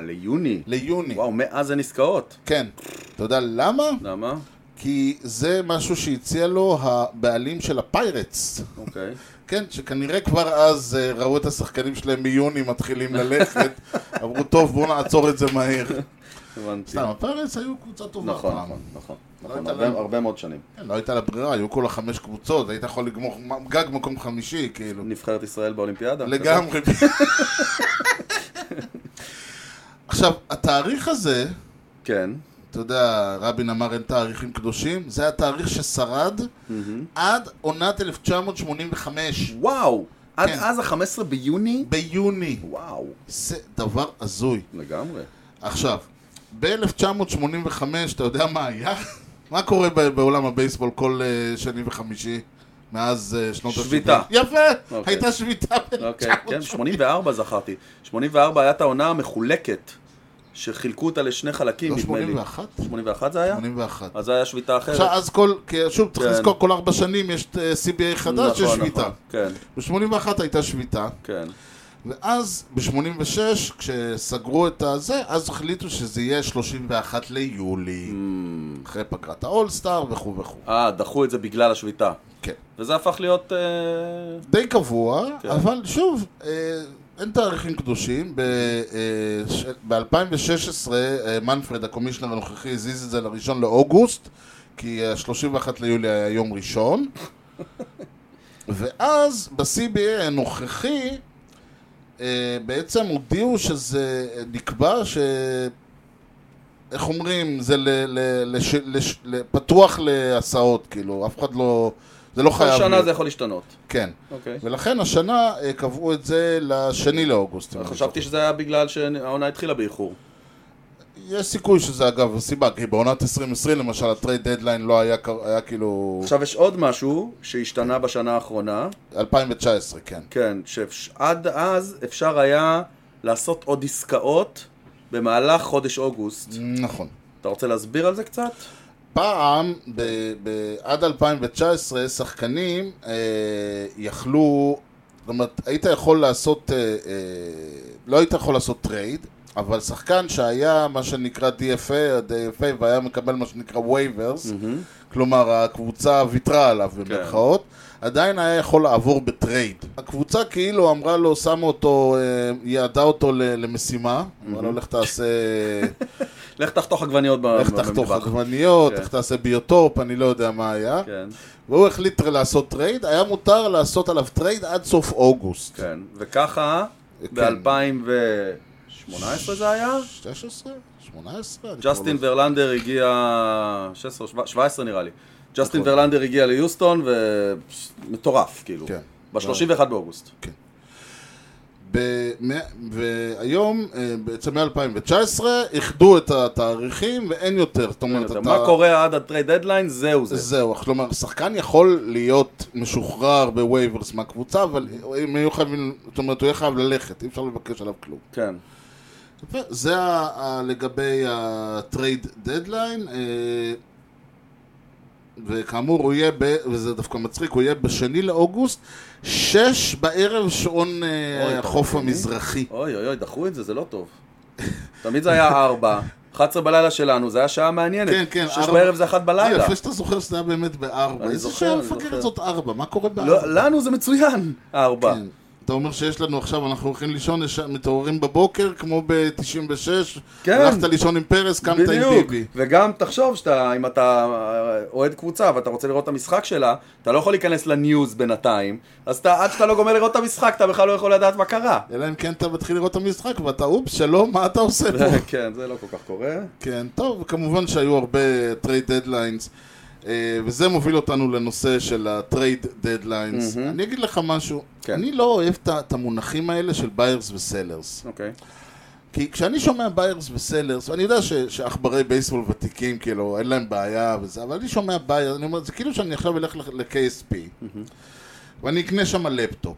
Speaker 1: ליוני.
Speaker 2: ליוני.
Speaker 1: ליוני.
Speaker 2: וואו, מאז אין עסקאות.
Speaker 1: כן. אתה יודע למה?
Speaker 2: למה?
Speaker 1: כי זה משהו שהציע לו הבעלים של הפיירטס.
Speaker 2: אוקיי.
Speaker 1: כן, שכנראה כבר אז אה, ראו את השחקנים שלהם מיוני מתחילים ללכת, אמרו, טוב, בואו נעצור את זה מהר.
Speaker 2: הבנתי.
Speaker 1: סתם, הפיירטס היו קבוצה טובה
Speaker 2: נכון,
Speaker 1: פעם. לא
Speaker 2: נכון, נכון. נכון,
Speaker 1: הייתה
Speaker 2: הרבה-
Speaker 1: להם-
Speaker 2: הרבה מאוד שנים.
Speaker 1: כן, לא הייתה לה ברירה, היו כולה חמש קבוצות, היית יכול לגמור מ- גג מקום חמישי, כאילו.
Speaker 2: נבחרת ישראל באולימפיאדה?
Speaker 1: לגמרי. עכשיו, התאריך הזה,
Speaker 2: כן.
Speaker 1: אתה יודע, רבין אמר אין תאריכים קדושים, זה התאריך ששרד עד עונת 1985,
Speaker 2: וואו! עד
Speaker 1: כן.
Speaker 2: אז ה-15 ביוני?
Speaker 1: ביוני.
Speaker 2: וואו.
Speaker 1: זה דבר הזוי.
Speaker 2: לגמרי.
Speaker 1: עכשיו, ב-1985, אתה יודע מה היה? מה קורה ב- בעולם הבייסבול כל אה, שני וחמישי? מאז אה, שנות ה-70?
Speaker 2: שביתה.
Speaker 1: יפה!
Speaker 2: אוקיי.
Speaker 1: הייתה שביתה
Speaker 2: אוקיי, כן,
Speaker 1: ב-1980.
Speaker 2: 84 זכרתי. 84 היה את העונה המחולקת, שחילקו אותה לשני חלקים,
Speaker 1: לא,
Speaker 2: כן, נדמה לי.
Speaker 1: 81?
Speaker 2: 81 זה היה?
Speaker 1: 81.
Speaker 2: אז זה היה שביתה אחרת.
Speaker 1: עכשיו, אז כל, כי שוב, צריך
Speaker 2: כן.
Speaker 1: לזכור, כל ארבע שנים יש אה, CBA חדש, יש
Speaker 2: נכון,
Speaker 1: שביתה.
Speaker 2: נכון. כן,
Speaker 1: ב-81 הייתה שביתה,
Speaker 2: כן.
Speaker 1: ואז ב-86, כשסגרו את הזה, אז החליטו שזה יהיה 31 ליולי, אחרי פגרת האולסטאר וכו' וכו'.
Speaker 2: אה, דחו את זה בגלל השביתה.
Speaker 1: כן.
Speaker 2: וזה הפך להיות... אה,
Speaker 1: די קבוע,
Speaker 2: כן.
Speaker 1: אבל שוב, אה, אין תאריכים קדושים. אה, ב-2016 אה, מנפרד, הקומישנר הנוכחי, הזיז את זה לראשון לאוגוסט, כי ה-31 ליולי היה יום ראשון. ואז ב-CBA הנוכחי, אה, בעצם הודיעו שזה נקבע ש... איך אומרים, זה ל, ל, לש, לש, ל, פתוח להסעות, כאילו, אף אחד לא, זה לא
Speaker 2: כל
Speaker 1: חייב.
Speaker 2: שנה
Speaker 1: להיות.
Speaker 2: זה יכול להשתנות.
Speaker 1: כן.
Speaker 2: אוקיי.
Speaker 1: ולכן השנה אה, קבעו את זה לשני לאוגוסט. אם אני
Speaker 2: חשבתי
Speaker 1: זוכר.
Speaker 2: שזה היה בגלל שהעונה התחילה באיחור.
Speaker 1: יש סיכוי שזה אגב הסיבה, כי בעונת 2020 למשל הטרייד דדליין לא היה, כ- היה כאילו...
Speaker 2: עכשיו יש עוד משהו שהשתנה בשנה האחרונה,
Speaker 1: 2019, כן.
Speaker 2: כן, שעד אז אפשר היה לעשות עוד עסקאות במהלך חודש אוגוסט.
Speaker 1: נכון.
Speaker 2: אתה רוצה להסביר על זה קצת?
Speaker 1: פעם, ב, ב, עד 2019, שחקנים אה, יכלו, זאת אומרת, היית יכול לעשות, אה, אה, לא היית יכול לעשות טרייד, אבל שחקן שהיה מה שנקרא DFA, DFA והיה מקבל מה שנקרא waivers, mm-hmm. כלומר הקבוצה ויתרה עליו במרכאות, עדיין היה יכול לעבור בטרייד. הקבוצה כאילו אמרה לו, שמה אותו, אה, יעדה אותו ל- למשימה, אמרה לו לך תעשה...
Speaker 2: לך תחתוך עגבניות ב-
Speaker 1: איך תחתוך
Speaker 2: במטבח.
Speaker 1: עגבניות,
Speaker 2: כן.
Speaker 1: איך תעשה ביוטופ, אני לא יודע מה היה.
Speaker 2: כן,
Speaker 1: והוא החליט לעשות טרייד, היה מותר לעשות עליו טרייד עד סוף אוגוסט.
Speaker 2: כן. וככה,
Speaker 1: כן.
Speaker 2: ב-2018 זה היה?
Speaker 1: 16? 18? אני
Speaker 2: ג'סטין
Speaker 1: כבר
Speaker 2: ורלנדר הגיע, 16 או 17 נראה לי. ג'סטין
Speaker 1: נכון.
Speaker 2: ורלנדר הגיע ליוסטון ומטורף, כאילו.
Speaker 1: כן.
Speaker 2: ב-31 באוגוסט.
Speaker 1: לא- במא- והיום, אה, בעצם מ-2019, איחדו את התאריכים ואין יותר. זאת אומרת, אתה...
Speaker 2: מה קורה עד הטרייד דדליין? זהו זה.
Speaker 1: זהו, כלומר, שחקן יכול להיות משוחרר בווייברס
Speaker 2: Mm-hmm.
Speaker 1: מהקבוצה, אבל הם יהיו חייבים, זאת אומרת, הוא יהיה חייב ללכת, אי אפשר לבקש עליו כלום.
Speaker 2: כן.
Speaker 1: יפה, זה ה- ה- לגבי הטרייד דדליין. אה, וכאמור הוא יהיה, ב, וזה דווקא מצחיק, הוא יהיה בשני לאוגוסט, שש בערב שעון אה,
Speaker 2: אוי,
Speaker 1: החוף
Speaker 2: אוקיי.
Speaker 1: המזרחי.
Speaker 2: אוי אוי אוי, דחו את זה, זה לא טוב. תמיד זה היה ארבע, 11 בלילה שלנו, זה היה שעה מעניינת.
Speaker 1: כן, כן,
Speaker 2: שש
Speaker 1: ארבע.
Speaker 2: בערב זה אחת
Speaker 1: אה,
Speaker 2: בלילה.
Speaker 1: יפה שאתה זוכר שזה היה באמת בארבע.
Speaker 2: אני
Speaker 1: איזה
Speaker 2: זוכר,
Speaker 1: שעה
Speaker 2: אני
Speaker 1: מפגרת
Speaker 2: זוכר.
Speaker 1: זאת ארבע? מה קורה
Speaker 2: לא,
Speaker 1: בארבע?
Speaker 2: לנו זה מצוין, ארבע.
Speaker 1: כן. אתה אומר שיש לנו עכשיו, אנחנו הולכים לישון, יש- מתעוררים בבוקר, כמו ב-96,
Speaker 2: כן.
Speaker 1: הלכת לישון עם פרס, קמת עם
Speaker 2: בדיוק,
Speaker 1: ביבי.
Speaker 2: וגם תחשוב שאתה, אם אתה אה, אוהד קבוצה ואתה רוצה לראות את המשחק שלה, אתה לא יכול להיכנס לניוז בינתיים, אז אתה, עד שאתה לא גומר לראות את המשחק, אתה בכלל לא יכול לדעת מה קרה.
Speaker 1: אלא אם כן אתה מתחיל לראות את המשחק ואתה אופס, שלום, מה אתה עושה פה?
Speaker 2: כן, זה לא כל כך קורה.
Speaker 1: כן, טוב, כמובן שהיו הרבה טרייד דדליינס, אה, וזה מוביל אותנו לנושא של הטרייד דדליינס.
Speaker 2: מהמם.
Speaker 1: אני אגיד לך משהו,
Speaker 2: כן.
Speaker 1: אני לא אוהב את ה- את המונחים האלה של ביירס וסלרס.
Speaker 2: אוקיי.
Speaker 1: כי כשאני שומע ביירס וסלרס, ואני יודע ש- שעכברי בייסבול ותיקים, כאילו, אין להם בעיה וזה, אבל אני שומע ביירס, אני אומר, זה כאילו שאני עכשיו אלך ל- ל-KSP, ואני אקנה שם לפטופ.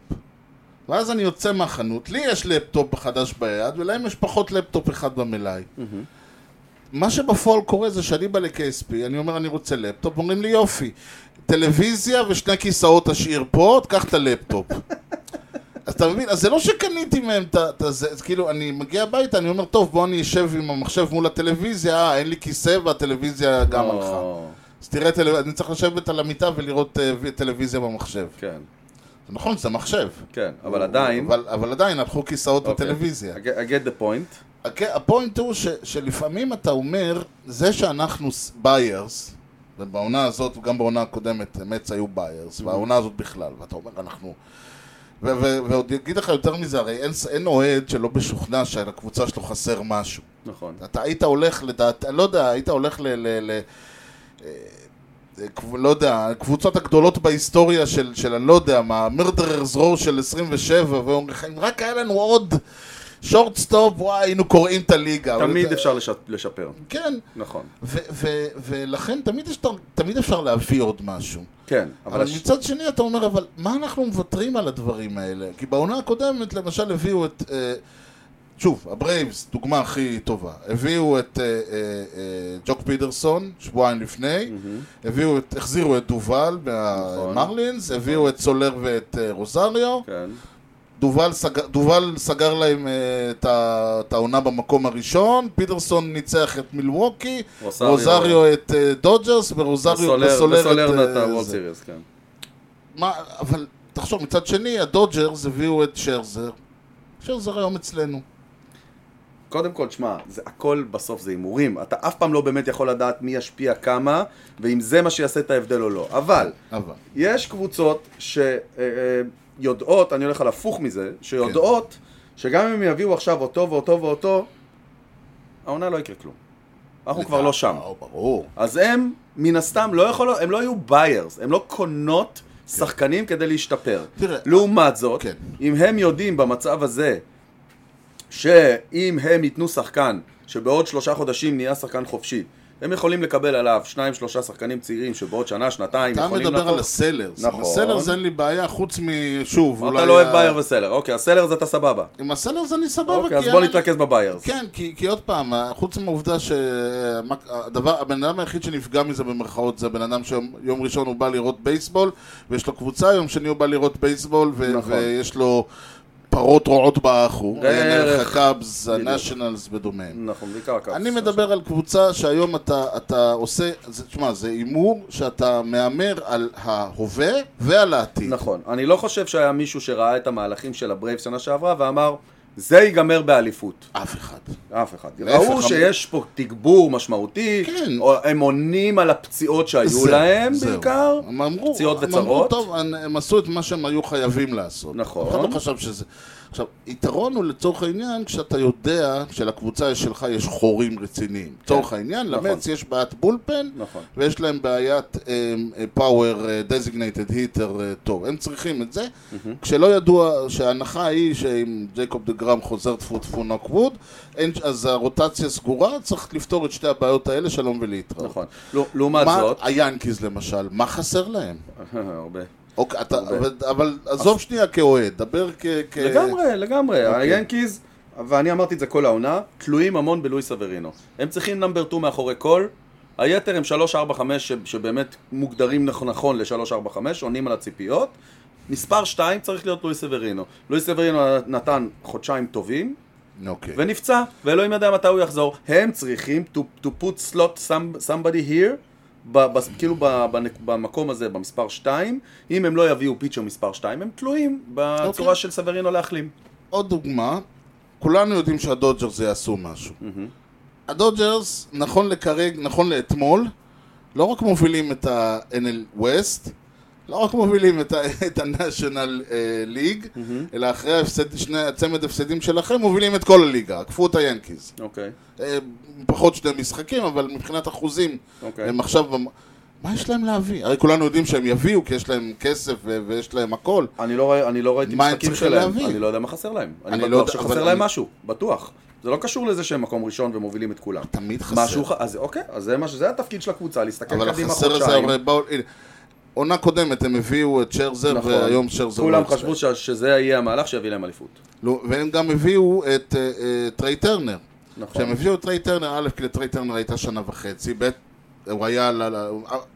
Speaker 1: ואז אני יוצא מהחנות, לי יש לפטופ חדש ביד, ולהם יש פחות לפטופ אחד במלאי. מה שבפועל קורה זה שאני בא ל-KSP, אני אומר אני רוצה לפטופ, אומרים לי יופי, טלוויזיה ושני כיסאות תשאיר פה, תקח את הלפטופ. אז אתה מבין? אז זה לא שקניתי מהם את ה... את ה- זה- זה כאילו, אני מגיע הביתה, אני אומר, טוב, בוא אני אשב עם המחשב מול הטלוויזיה, אה, אין לי כיסא והטלוויזיה גם
Speaker 2: לא.
Speaker 1: הלכה.
Speaker 2: או,
Speaker 1: אז תראה, טלו- אני צריך לשבת על המיטה ולראות אה, ו- טלוויזיה במחשב.
Speaker 2: כן,
Speaker 1: זה נכון, זה מחשב.
Speaker 2: כן, אבל עדיין...
Speaker 1: אבל, אבל עדיין הלכו כיסאות
Speaker 2: אוקיי.
Speaker 1: וטלוויזיה.
Speaker 2: I get- I get the point.
Speaker 1: הק- הפוינט הוא ש, שלפעמים אתה אומר, זה שאנחנו ביירס, ובעונה הזאת, גם בעונה הקודמת, אמץ היו
Speaker 2: Mm-hmm.
Speaker 1: ביירס, והעונה הזאת בכלל, ואתה אומר, אנחנו... ו- ו- ועוד אגיד לך יותר מזה, הרי אין, ס- אין אוהד שלא משוכנע שלקבוצה שלו חסר משהו.
Speaker 2: נכון.
Speaker 1: אתה היית הולך לדעת, לא יודע, היית הולך ל... ל, ל אה, קב- לא יודע, הקבוצות הגדולות בהיסטוריה של, של אני לא יודע מה, מרדררס רו של 27, ואומרים לך, אם רק היה לנו עוד שורטסטופ, וואי, היינו קוראים את הליגה. אבל
Speaker 2: תמיד
Speaker 1: אתה-
Speaker 2: אפשר לש- לשפר.
Speaker 1: כן,
Speaker 2: נכון.
Speaker 1: ו- ו- ולכן תמיד, יש, תמיד אפשר להביא עוד משהו.
Speaker 2: כן,
Speaker 1: אבל
Speaker 2: אבל... הש-
Speaker 1: מצד שני אתה אומר, אבל מה אנחנו מוותרים על הדברים האלה? כי בעונה הקודמת למשל הביאו את... אה, שוב, הברייבס, דוגמה הכי טובה. הביאו את אה, אה, אה, ג'וק פידרסון שבועיים לפני,
Speaker 2: Mm.
Speaker 1: הביאו את, החזירו את דובל מהמרלינס, הביאו את סולר ואת אה, רוזריו,
Speaker 2: נכון. כן,
Speaker 1: דובל סגר- דובל סגר להם אה, את ה- את העונה במקום הראשון, פידרסון ניצח את מילווקי,
Speaker 2: רוסריו.
Speaker 1: רוזריו את אה, דודג'רס ורוזריו
Speaker 2: וסולר
Speaker 1: וסולר
Speaker 2: וסולר
Speaker 1: את, אה,
Speaker 2: נתן וולד
Speaker 1: זה.
Speaker 2: סיריוס, כן.
Speaker 1: מה, אבל תחשוב, מצד שני, הדודג'רס הביאו את שרזר. שרזר היום אצלנו.
Speaker 2: קודם כל, שמע, זה הכל בסוף זה הימורים. אתה אף פעם לא באמת יכול לדעת מי ישפיע כמה, ואם זה מה שיעשה את ההבדל או לא. אבל,
Speaker 1: אבל.
Speaker 2: יש קבוצות שיודעות, אני הולך על הפוך מזה, שיודעות שגם אם יביאו עכשיו אותו ואותו ואותו, העונה לא יקרה כלום. אנחנו כבר לא שם.
Speaker 1: אה, ברור.
Speaker 2: אז הם, מן הסתם, לא יכולות, הם לא יהיו ביירס, הם לא קונות שחקנים כדי להשתפר.
Speaker 1: כן. תראה,
Speaker 2: לעומת זאת,
Speaker 1: כן.
Speaker 2: אם הם יודעים במצב הזה, שאם הם ייתנו שחקן שבעוד שלושה חודשים נהיה שחקן חופשי, הם יכולים לקבל עליו שניים שלושה שחקנים צעירים שבעוד שנה שנתיים
Speaker 1: אתה
Speaker 2: יכולים
Speaker 1: מדבר על
Speaker 2: להפוך-
Speaker 1: הסלרס.
Speaker 2: נכון.
Speaker 1: נכון. הסלרס אין לי בעיה, חוץ משוב,
Speaker 2: אתה לא אוהב בייר וסלר, אוקיי, הסלר זה אתה סבבה.
Speaker 1: עם הסלרס אני סבבה. לא, כי
Speaker 2: אוקיי, אז
Speaker 1: אין
Speaker 2: בוא
Speaker 1: לי-
Speaker 2: נתרכז בביירס.
Speaker 1: כן, כי, כי עוד פעם, אה, חוץ מהעובדה אה, שהבן אדם היחיד שנפגע מזה במרכאות זה הבן אדם שיום יום ראשון הוא בא לראות בייסבול ויש לו קבוצה, יום שני הוא בא לראות בייסבול ו-
Speaker 2: נכון.
Speaker 1: ויש לו פרות רועות בעכור,
Speaker 2: בערך.
Speaker 1: אין לך קאבס,
Speaker 2: בדיוק.
Speaker 1: הנשיונלס ודומיהם.
Speaker 2: נכון, בעיקר ככה.
Speaker 1: אני מדבר על קבוצה שהיום אתה, אתה עושה, זה- תשמע, זה הימור שאתה מהמר על ההווה ועל העתיד.
Speaker 2: נכון. אני לא חושב שהיה מישהו שראה את המהלכים של הברייב שנה שעברה ואמר, זה ייגמר באליפות.
Speaker 1: אף אחד.
Speaker 2: אף אחד.
Speaker 1: להפך,
Speaker 2: ראו
Speaker 1: אמרו-
Speaker 2: שיש פה תגבור משמעותי,
Speaker 1: כן.
Speaker 2: או- הם עונים על הפציעות שהיו
Speaker 1: זהו,
Speaker 2: להם
Speaker 1: זהו.
Speaker 2: בעיקר.
Speaker 1: הם אמרו,
Speaker 2: פציעות
Speaker 1: הם אמרו,
Speaker 2: וצרות.
Speaker 1: טוב, הם- הם עשו את מה שהם היו חייבים לעשות.
Speaker 2: נכון.
Speaker 1: אף אחד לא חשב שזה... עכשיו, יתרון הוא לצורך העניין כשאתה יודע שלקבוצה שלך יש חורים רציניים. לצורך העניין,
Speaker 2: נכון.
Speaker 1: למץ יש בעיית בולפן,
Speaker 2: נכון.
Speaker 1: ויש להם בעיית אה, פאוור דזיגנייטד היטר אה, טוב. הם צריכים את זה. כשלא ידוע שההנחה היא שאם ג'ייקוב דה גראם חוזר טפו טפו נוק ווד, אין- אז הרוטציה סגורה, צריך לפתור את שתי הבעיות האלה, שלום ולהתראות.
Speaker 2: נכון. ל- לעומת
Speaker 1: לא. מה, אה,
Speaker 2: זאת,
Speaker 1: היאנקיז למשל, מה חסר להם?
Speaker 2: הרבה.
Speaker 1: אוקיי, אתה, אבל, אבל עזוב שנייה כאוהד, דבר כ... כ... אוקיי.
Speaker 2: לגמרי, לגמרי. היאנקיז, ואני אמרתי את זה כל העונה, תלויים המון בלואיס אברינו. הם צריכים נאמבר 2 מאחורי כל, היתר הם 3-4-5 ש- שבאמת מוגדרים נכון, נכון ל-3-4-5, עונים על הציפיות. מספר 2 צריך להיות לואיס אברינו. לואיס אברינו נתן חודשיים טובים,
Speaker 1: אוקיי.
Speaker 2: ונפצע, ואלוהים יודע מתי הוא יחזור. הם צריכים to, to put slot some, somebody here, ב, ב, כאילו ב, ב, במקום הזה, במספר 2, אם הם לא יביאו פיצ'ר מספר 2, הם תלויים בצורה
Speaker 1: אוקיי.
Speaker 2: של סברינו להחלים.
Speaker 1: עוד דוגמה, כולנו יודעים שהדודג'רס יעשו משהו. הדודג'רס, נכון לכרגע, נכון לאתמול, לא רק מובילים את ה-NL West, לא רק מובילים את ה- את ה-National אה, League, אלא אחרי ההפסד, שני הצמד הפסדים שלכם, מובילים את כל הליגה, עקפו את היאנקיז.
Speaker 2: אוקיי.
Speaker 1: אה, פחות שני משחקים, אבל מבחינת אחוזים,
Speaker 2: אוקיי.
Speaker 1: הם עכשיו... במ- מה יש להם להביא? הרי כולנו יודעים שהם יביאו, כי יש להם כסף ו- ויש להם הכל.
Speaker 2: אני לא, רא- אני לא ראיתי
Speaker 1: מה הם
Speaker 2: משחקים
Speaker 1: צריכים
Speaker 2: שלהם,
Speaker 1: להביא?
Speaker 2: אני לא יודע מה חסר להם. אני,
Speaker 1: אני
Speaker 2: בטוח
Speaker 1: לא יודע,
Speaker 2: שחסר
Speaker 1: אבל
Speaker 2: להם
Speaker 1: אני-
Speaker 2: משהו, בטוח. זה לא קשור לזה שהם מקום ראשון ומובילים את כולם.
Speaker 1: תמיד חסר.
Speaker 2: משהו, ח- אז אוקיי, אז זה, מה ש- זה התפקיד של הקבוצה, להסתכל
Speaker 1: אבל
Speaker 2: קדימה
Speaker 1: החסר הזה,
Speaker 2: חודשיים.
Speaker 1: הרי באו... הנה, עונה קודמת הם הביאו את שרזר,
Speaker 2: נכון.
Speaker 1: והיום שרזר
Speaker 2: כולם
Speaker 1: לא אצלם.
Speaker 2: חשבו ש- שזה יהיה המהלך שיביא להם אליפות.
Speaker 1: לא, והם גם הביאו את אה, אה, טריי טרנר.
Speaker 2: נכון.
Speaker 1: כשהם הביאו את טריי טרנר, א', כי לטריי טרנר הייתה שנה וחצי, ב', הוא היה... ל- ל-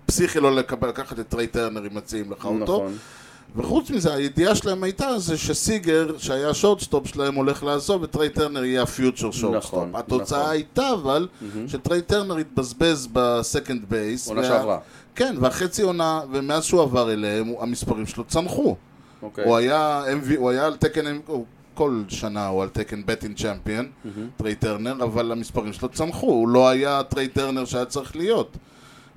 Speaker 1: פסיכי לא לקבל, לקחת את טריי טרנר אם מציעים לך אותו.
Speaker 2: נכון.
Speaker 1: וחוץ מזה, הידיעה שלהם הייתה זה שסיגר, שהיה שורטסטופ שלהם, הולך לעזוב, וטריי טרנר יהיה הפיוטר שורטסטופ.
Speaker 2: נכון,
Speaker 1: התוצאה
Speaker 2: נכון.
Speaker 1: הייתה אבל, שטריי טרנר התבזבז בסקנד בייס.
Speaker 2: עונה שעברה.
Speaker 1: כן, והחצי עונה, ומאז שהוא עבר אליהם, הוא- המספרים שלו צנחו.
Speaker 2: אוקיי.
Speaker 1: הוא היה MV, הוא היה על תקן, הוא- כל שנה הוא על תקן בטין צ'מפיון, טריי טרנר, אבל המספרים שלו צמחו, הוא לא היה טריי טרנר שהיה צריך להיות.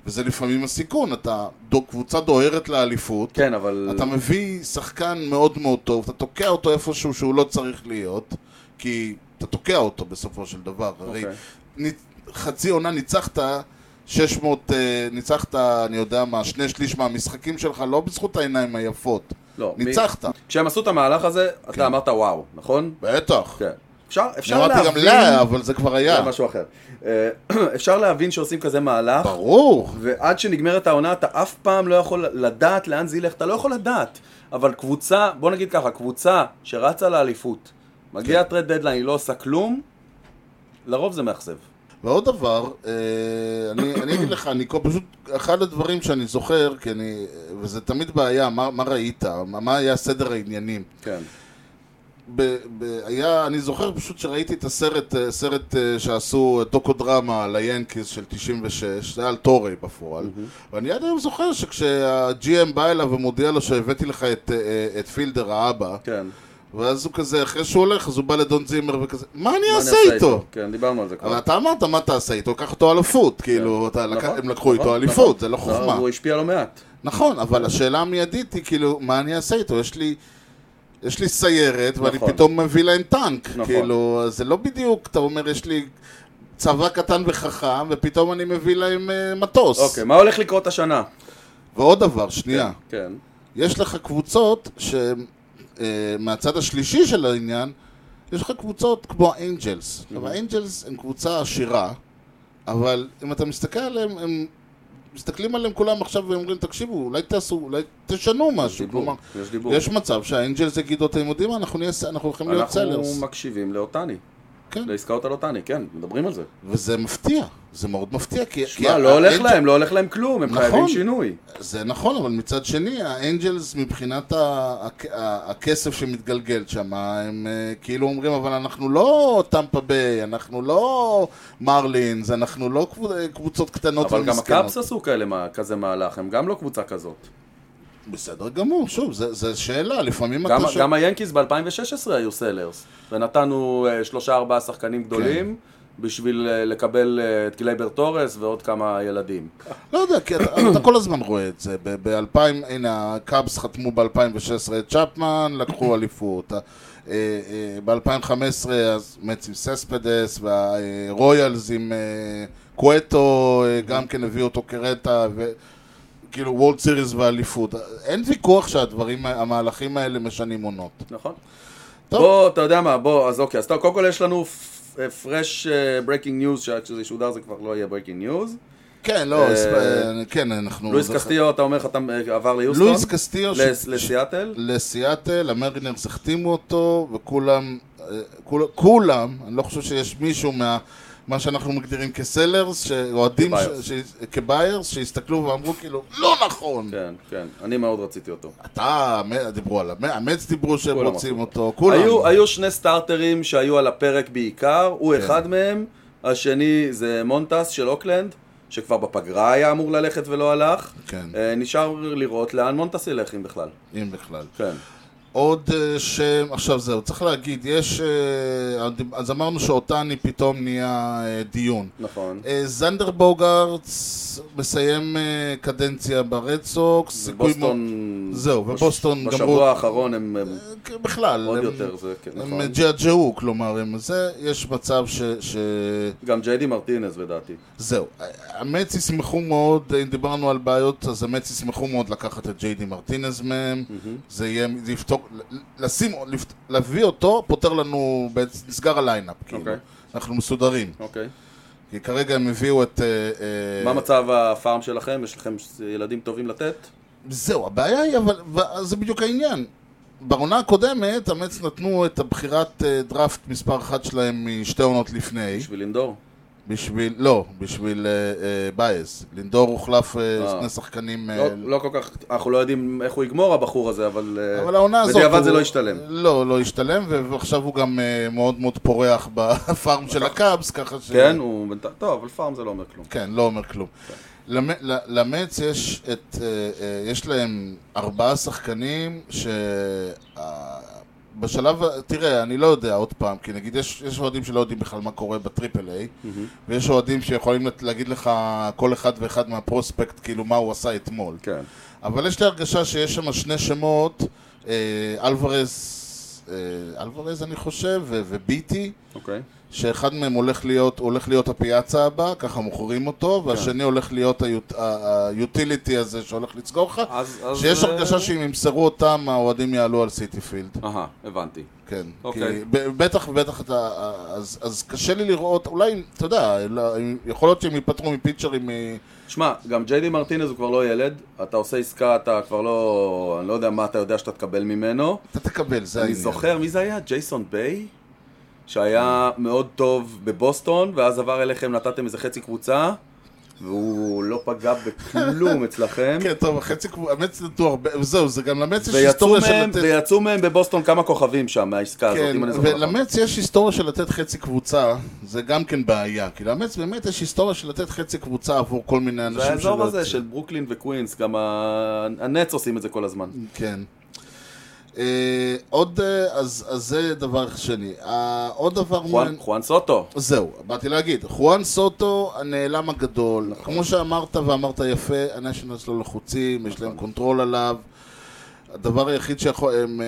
Speaker 1: וזה לפעמים הסיכון, אתה דו, קבוצה דוהרת לאליפות,
Speaker 2: כן, אבל...
Speaker 1: אתה מביא שחקן מאוד מאוד טוב, אתה תוקע אותו איפשהו שהוא לא צריך להיות, כי אתה תוקע אותו בסופו של דבר, הרי
Speaker 2: אוקיי.
Speaker 1: ניצ- חצי עונה ניצחת 600, אה, ניצחת, אני יודע מה, שני שליש מהמשחקים שלך, לא בזכות העיניים היפות.
Speaker 2: לא, מי-
Speaker 1: ניצחת.
Speaker 2: כשהם עשו את המהלך הזה, אתה אמרת וואו, נכון?
Speaker 1: בטח.
Speaker 2: כן. אפשר אפשר
Speaker 1: אני כן. אמרתי גם
Speaker 2: להבין...
Speaker 1: לה, אבל זה כבר היה.
Speaker 2: זה משהו אחר. אה, אפשר להבין שעושים כזה מהלך,
Speaker 1: ברור.
Speaker 2: ועד שנגמרת העונה אתה אף פעם לא יכול לדעת לאן זה ילך, אתה לא יכול לדעת. אבל קבוצה, בוא נגיד ככה, קבוצה שרצה לאליפות, מגיע
Speaker 1: כן.
Speaker 2: הטרד דדליין, היא לא עושה כלום, לרוב זה מאכזב.
Speaker 1: ועוד דבר, אה, אני, אני אגיד לך, אני כל- פשוט, אחד הדברים שאני זוכר, כי אני, וזה תמיד בעיה, מה, מה ראית? מה, מה היה סדר העניינים?
Speaker 2: כן.
Speaker 1: ב, ב, היה, אני זוכר פשוט שראיתי את הסרט, אה, סרט אה, שעשו אה, טוקודרמה על היאנקיז של 96, זה היה על טורי בפועל, ואני עד היום זוכר שכשה-GM בא אליו ומודיע לו שהבאתי לך את, אה, אה, את פילדר האבא,
Speaker 2: כן.
Speaker 1: ואז הוא כזה, אחרי שהוא הולך, אז הוא בא לדון זימר וכזה, מה אני
Speaker 2: מה
Speaker 1: אעשה איתו?
Speaker 2: כן, דיברנו על זה כבר.
Speaker 1: אבל אתה אמרת, מה תעשה איתו? קח אותו אליפות, כאילו, אתה
Speaker 2: נכון,
Speaker 1: לקח- הם לקחו
Speaker 2: נכון,
Speaker 1: איתו
Speaker 2: נכון.
Speaker 1: אליפות, זה לא חוכמה.
Speaker 2: נכון, הוא השפיע לא מעט.
Speaker 1: נכון, אבל השאלה המיידית היא, כאילו, מה אני אעשה איתו? יש לי... יש לי סיירת, ואני
Speaker 2: נכון.
Speaker 1: פתאום מביא להם טנק.
Speaker 2: נכון.
Speaker 1: כאילו, אז זה לא בדיוק, אתה אומר, יש לי צבא קטן וחכם, ופתאום אני מביא להם אה, מטוס.
Speaker 2: אוקיי, מה הולך לקרות השנה?
Speaker 1: ועוד דבר, שנייה.
Speaker 2: כן.
Speaker 1: יש לך קבוצות שמהצד השלישי של העניין, יש לך קבוצות כמו האנג'לס.
Speaker 2: Mm-hmm.
Speaker 1: עכשיו האנג'לס הם קבוצה עשירה, אבל אם אתה מסתכל עליהם, הם מסתכלים עליהם כולם עכשיו ואומרים, תקשיבו, אולי תעשו, אולי תשנו משהו.
Speaker 2: דיבור,
Speaker 1: כלומר,
Speaker 2: יש דיבור.
Speaker 1: יש מצב שהאנג'לס יגידו, אתם יודעים מה, אנחנו נהיה ס- אנחנו הולכים להיות סלרס.
Speaker 2: אנחנו מקשיבים לאותני.
Speaker 1: כן.
Speaker 2: לעסקאות על אותני, כן, מדברים על זה.
Speaker 1: וזה מפתיע, זה מאוד מפתיע. כי- כי
Speaker 2: שמע, לא הולך
Speaker 1: האנג'ל-
Speaker 2: להם, לא הולך להם כלום, הם
Speaker 1: נכון.
Speaker 2: חייבים שינוי.
Speaker 1: זה נכון, אבל מצד שני, האנג'לס מבחינת ה- ה- ה- הכסף שמתגלגל שם, הם אה, כאילו אומרים, אבל אנחנו לא טמפה ביי, אנחנו לא מרלינס, אנחנו לא קבוצ- קבוצות קטנות
Speaker 2: אבל גם
Speaker 1: ומסכנות.
Speaker 2: הקאפס עשו כאלה מה- כזה מהלך, הם גם לא קבוצה כזאת.
Speaker 1: בסדר גמור, שוב, זה- זה שאלה, לפעמים
Speaker 2: גם-
Speaker 1: אתה... ש-
Speaker 2: גם היאנקיס ב-2016 היו סלרס, ונתנו אה, שלושה ארבעה שחקנים
Speaker 1: כן.
Speaker 2: גדולים. בשביל אה, לקבל אה, את קלייבר טורס ועוד כמה ילדים.
Speaker 1: לא יודע, כי אתה, אתה כל הזמן רואה את זה. ב-2000, הנה, הקאבס חתמו ב-2016 את צ'פמן, לקחו אליפות. אה, ב-2015 אז מצ עם סספדס, והרויאלס עם אה, קואטו, אה, גם כן הביאו אותו קרטה, וכאילו וולד סיריס ואליפות. אין ויכוח שהדברים, המהלכים האלה משנים עונות.
Speaker 2: נכון.
Speaker 1: טוב.
Speaker 2: בוא, אתה יודע מה, בוא, אז אוקיי, אז טוב, קודם כל יש לנו אה, פרש ברייקינג ניוז, שכשזה ישודר זה כבר לא יהיה ברייקינג ניוז.
Speaker 1: כן, לא,
Speaker 2: אה,
Speaker 1: הספ- אה, כן, אנחנו...
Speaker 2: לואיס
Speaker 1: זה-
Speaker 2: קסטיו, אתה אומר חתם, אה, עבר ליוסטון?
Speaker 1: לואיס קסטיו, ש-
Speaker 2: לס- לסיאטל?
Speaker 1: לסיאטל, המרינרס החתימו אותו, וכולם, אה, כול- כולם, אני לא חושב שיש מישהו מה... מה שאנחנו מגדירים כסלרס, שאוהדים,
Speaker 2: כביירס.
Speaker 1: ש- ש- כביירס, שהסתכלו ואמרו כאילו, לא נכון.
Speaker 2: כן, כן, אני מאוד רציתי אותו.
Speaker 1: אתה, המ- דיברו על המאמץ, דיברו שהם
Speaker 2: כולם
Speaker 1: רוצים
Speaker 2: אמרו.
Speaker 1: אותו, כולם.
Speaker 2: היו, היו שני סטארטרים שהיו על הפרק בעיקר,
Speaker 1: כן.
Speaker 2: הוא אחד מהם, השני זה מונטס של אוקלנד, שכבר בפגרה היה אמור ללכת ולא הלך.
Speaker 1: כן.
Speaker 2: אה, נשאר לראות לאן מונטס ילך, אם בכלל.
Speaker 1: אם בכלל.
Speaker 2: כן.
Speaker 1: עוד אה, שם, עכשיו זהו, צריך להגיד, יש, אה, אז אמרנו שאותני פתאום נהיה אה, דיון.
Speaker 2: נכון.
Speaker 1: אה, זנדר בוגארטס מסיים אה, קדנציה ברד סוקס, סיכוי מאוד-
Speaker 2: בוסטון...
Speaker 1: זהו, ובוסטון גמרו-
Speaker 2: בשבוע האחרון הם... הם-
Speaker 1: כן, בכלל,
Speaker 2: עוד
Speaker 1: הם-
Speaker 2: יותר, זה כן, נכון.
Speaker 1: הם ג'עג'עו, כלומר, הם זה, יש מצב ש... ש...
Speaker 2: גם ג'יידי מרטינז לדעתי.
Speaker 1: זהו, המץ ישמחו מאוד, אם דיברנו על בעיות, אז המץ ישמחו מאוד לקחת את ג'יי די מרטינז מהם, זה יהיה, זה יפתור, לשים, לפת- להביא אותו, פותר לנו, בעצם- נסגר הליינאפ, כאילו,
Speaker 2: אוקיי.
Speaker 1: אנחנו מסודרים,
Speaker 2: אוקיי.
Speaker 1: כי כרגע הם הביאו את... אה, אה,
Speaker 2: מה מצב הפארם שלכם? יש לכם ילדים טובים לתת?
Speaker 1: זהו, הבעיה היא, אבל ו- זה בדיוק העניין. בעונה הקודמת, המץ נתנו את הבחירת אה, דראפט מספר אחת שלהם משתי עונות לפני,
Speaker 2: בשביל לינדור?
Speaker 1: בשביל, לא, בשביל אה, אה, בייס. לינדור הוחלף אה,
Speaker 2: אה.
Speaker 1: שני שחקנים... אה,
Speaker 2: לא- לא כל כך, אנחנו לא יודעים איך הוא יגמור הבחור הזה, אבל... אה,
Speaker 1: אבל העונה הזאת...
Speaker 2: בדיעבד זה
Speaker 1: הוא-
Speaker 2: לא השתלם.
Speaker 1: לא, לא השתלם, ו- ועכשיו הוא גם אה, מאוד מאוד פורח בפארם של הקאבס, ככה ש...
Speaker 2: כן, הוא בינתיים... טוב, אבל פארם זה לא אומר כלום.
Speaker 1: כן, לא אומר כלום. למ- ל- למץ יש את... אה, אה, יש להם ארבעה שחקנים ש... ה- בשלב, ה- תראה, אני לא יודע עוד פעם, כי נגיד יש, יש אוהדים שלא יודעים בכלל מה קורה בטריפל איי, ויש אוהדים שיכולים לת- להגיד לך כל אחד ואחד מהפרוספקט, כאילו מה הוא עשה אתמול.
Speaker 2: כן.
Speaker 1: אבל יש לי הרגשה שיש שם שני שמות, אה, אלוורז, אה, אלוורז אני חושב, ו- וביטי,
Speaker 2: אוקיי.
Speaker 1: שאחד מהם הולך להיות, הולך להיות הפיאצה הבא, ככה מוכרים אותו,
Speaker 2: כן.
Speaker 1: והשני הולך להיות היוטיליטי הזה שהולך לסגור לך,
Speaker 2: אז... אז,
Speaker 1: שיש
Speaker 2: אה,
Speaker 1: הרגשה שאם ימסרו אותם, האוהדים יעלו על סיטי פילד.
Speaker 2: אהה, הבנתי.
Speaker 1: כן,
Speaker 2: אוקיי.
Speaker 1: כי ב- בטח ובטח אתה, אז, אז קשה לי לראות, אולי, אתה יודע, לא- יכול להיות שהם ייפטרו מפיצ'רים, מ-
Speaker 2: שמע, גם ג'יידי מרטינז הוא כבר לא ילד, אתה עושה עסקה, אתה כבר לא... אני לא יודע מה אתה יודע שאתה תקבל ממנו.
Speaker 1: אתה תקבל, זה
Speaker 2: אני
Speaker 1: העניין.
Speaker 2: זוכר, מי זה היה? ג'ייסון ביי? שהיה מאוד טוב בבוסטון, ואז עבר אליכם, נתתם איזה חצי קבוצה, והוא לא פגע בכלום אצלכם.
Speaker 1: כן, טוב, החצי קבוצה, המץ נתנו הרבה, זהו, זה גם למץ יש
Speaker 2: ויצאו
Speaker 1: היסטוריה של
Speaker 2: מהם,
Speaker 1: לתת...
Speaker 2: ויצאו מהם בבוסטון כמה כוכבים שם מהעסקה הזאת,
Speaker 1: כן,
Speaker 2: אם אני זוכר. נכון.
Speaker 1: ולמץ יש היסטוריה של לתת חצי קבוצה, זה גם כן בעיה. כי למץ באמת יש היסטוריה של לתת חצי קבוצה עבור כל מיני אנשים
Speaker 2: זה האזור
Speaker 1: שלא-
Speaker 2: הזה של ברוקלין וקווינס, גם ה- הנץ עושים את זה כל הזמן.
Speaker 1: כן. אה, עוד, אה, אז אז זה דבר שני. אה, עוד דבר...
Speaker 2: חואן
Speaker 1: מעניין-
Speaker 2: חואן סוטו.
Speaker 1: זהו, באתי להגיד, חואן סוטו הנעלם הגדול, כמו שאמרת ואמרת יפה, הנשיונלס לא לחוצים, יש להם קונטרול עליו, הדבר היחיד שיכול, הם, אה,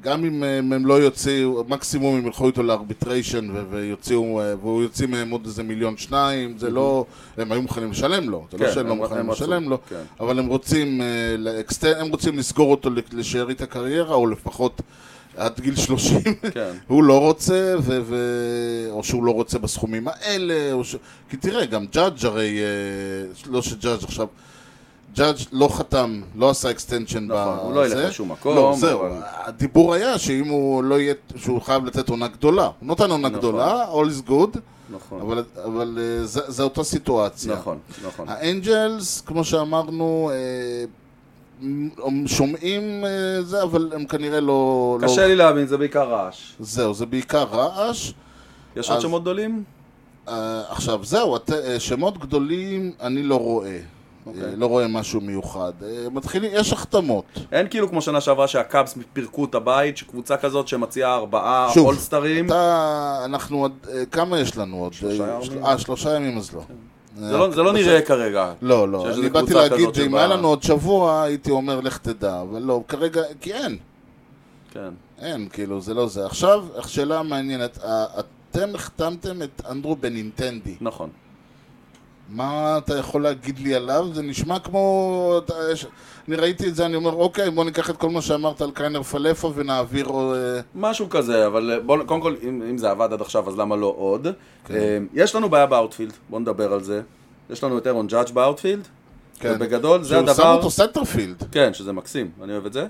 Speaker 1: גם אם הם, הם לא יוציאו, מקסימום הם ילכו איתו לארביטריישן ו- ויוציאו, אה, והוא יוציא מהם עוד איזה מיליון שניים, זה לא, הם היו מוכנים לשלם לו, זה לא
Speaker 2: כן,
Speaker 1: שהם לא
Speaker 2: הם-
Speaker 1: מוכנים
Speaker 2: הם רצו,
Speaker 1: לשלם לו,
Speaker 2: כן.
Speaker 1: אבל הם רוצים, אה, לאקסט- הם רוצים לסגור אותו לשארית הקריירה, או לפחות עד גיל 30,
Speaker 2: כן.
Speaker 1: הוא לא רוצה, ו- ו- או שהוא לא רוצה בסכומים האלה, או ש... כי תראה, גם ג'אדג' הרי, אה, לא שג'אדג' עכשיו, ג'אדג' לא חתם, לא עשה אקסטנשן
Speaker 2: נכון,
Speaker 1: ב-
Speaker 2: הוא לא ילך
Speaker 1: זה.
Speaker 2: לשום מקום,
Speaker 1: לא, זהו,
Speaker 2: אבל-
Speaker 1: הדיבור היה שאם הוא לא יהיה, שהוא חייב לתת עונה גדולה. הוא נותן עונה
Speaker 2: נכון.
Speaker 1: גדולה, all is good,
Speaker 2: נכון,
Speaker 1: אבל, אבל אה, זה, זה אותה סיטואציה.
Speaker 2: נכון, נכון.
Speaker 1: אה, האנג'לס, כמו שאמרנו, אה, הם שומעים אה, זה, אבל הם כנראה לא... לא-
Speaker 2: קשה לי להאמין, זה בעיקר רעש.
Speaker 1: זהו, זה בעיקר רעש.
Speaker 2: יש עוד
Speaker 1: אז-
Speaker 2: שמות גדולים?
Speaker 1: Uh, עכשיו, זהו, הת... אה, שמות גדולים אני לא רואה.
Speaker 2: אוקיי.
Speaker 1: אה, לא רואה משהו מיוחד. אה, מתחילים, יש החתמות.
Speaker 2: אין כאילו כמו שנה שעברה שהקאבס פירקו את הבית, שקבוצה כזאת שמציעה ארבעה
Speaker 1: שוב,
Speaker 2: אולסטרים.
Speaker 1: אתה, אנחנו עוד, אה, כמה יש לנו עוד?
Speaker 2: שלושה
Speaker 1: אה,
Speaker 2: ימים.
Speaker 1: אה, שלושה ימים אז לא.
Speaker 2: זה לא- זה לא נראה כרגע.
Speaker 1: לא, לא.
Speaker 2: שיש
Speaker 1: אני
Speaker 2: איזה
Speaker 1: באתי
Speaker 2: קבוצה
Speaker 1: להגיד
Speaker 2: כזאת
Speaker 1: שאם
Speaker 2: שבה-
Speaker 1: היה לנו עוד שבוע, הייתי אומר, לך תדע. אבל לא, כרגע, כי אין.
Speaker 2: כן.
Speaker 1: אין, כאילו, זה לא זה. עכשיו, השאלה המעניינת, ה- אתם החתמתם את אנדרו בנינטנדי.
Speaker 2: נכון.
Speaker 1: מה אתה יכול להגיד לי עליו? זה נשמע כמו... אתה- יש- אני ראיתי את זה, אני אומר, אוקיי, בוא ניקח את כל מה שאמרת על קיינר פלאפה ונעביר... אה,
Speaker 2: משהו כזה, אבל אה, בוא, קודם כל, אם, אם זה עבד עד עכשיו, אז למה לא עוד?
Speaker 1: כן.
Speaker 2: אה, יש לנו בעיה באאוטפילד, בוא נדבר על זה. יש לנו את אירון ג'אדג' באאוטפילד,
Speaker 1: כן.
Speaker 2: ובגדול זה
Speaker 1: שהוא שם
Speaker 2: הדבר...
Speaker 1: אותו סנטרפילד.
Speaker 2: כן, שזה מקסים, אני אוהב את זה.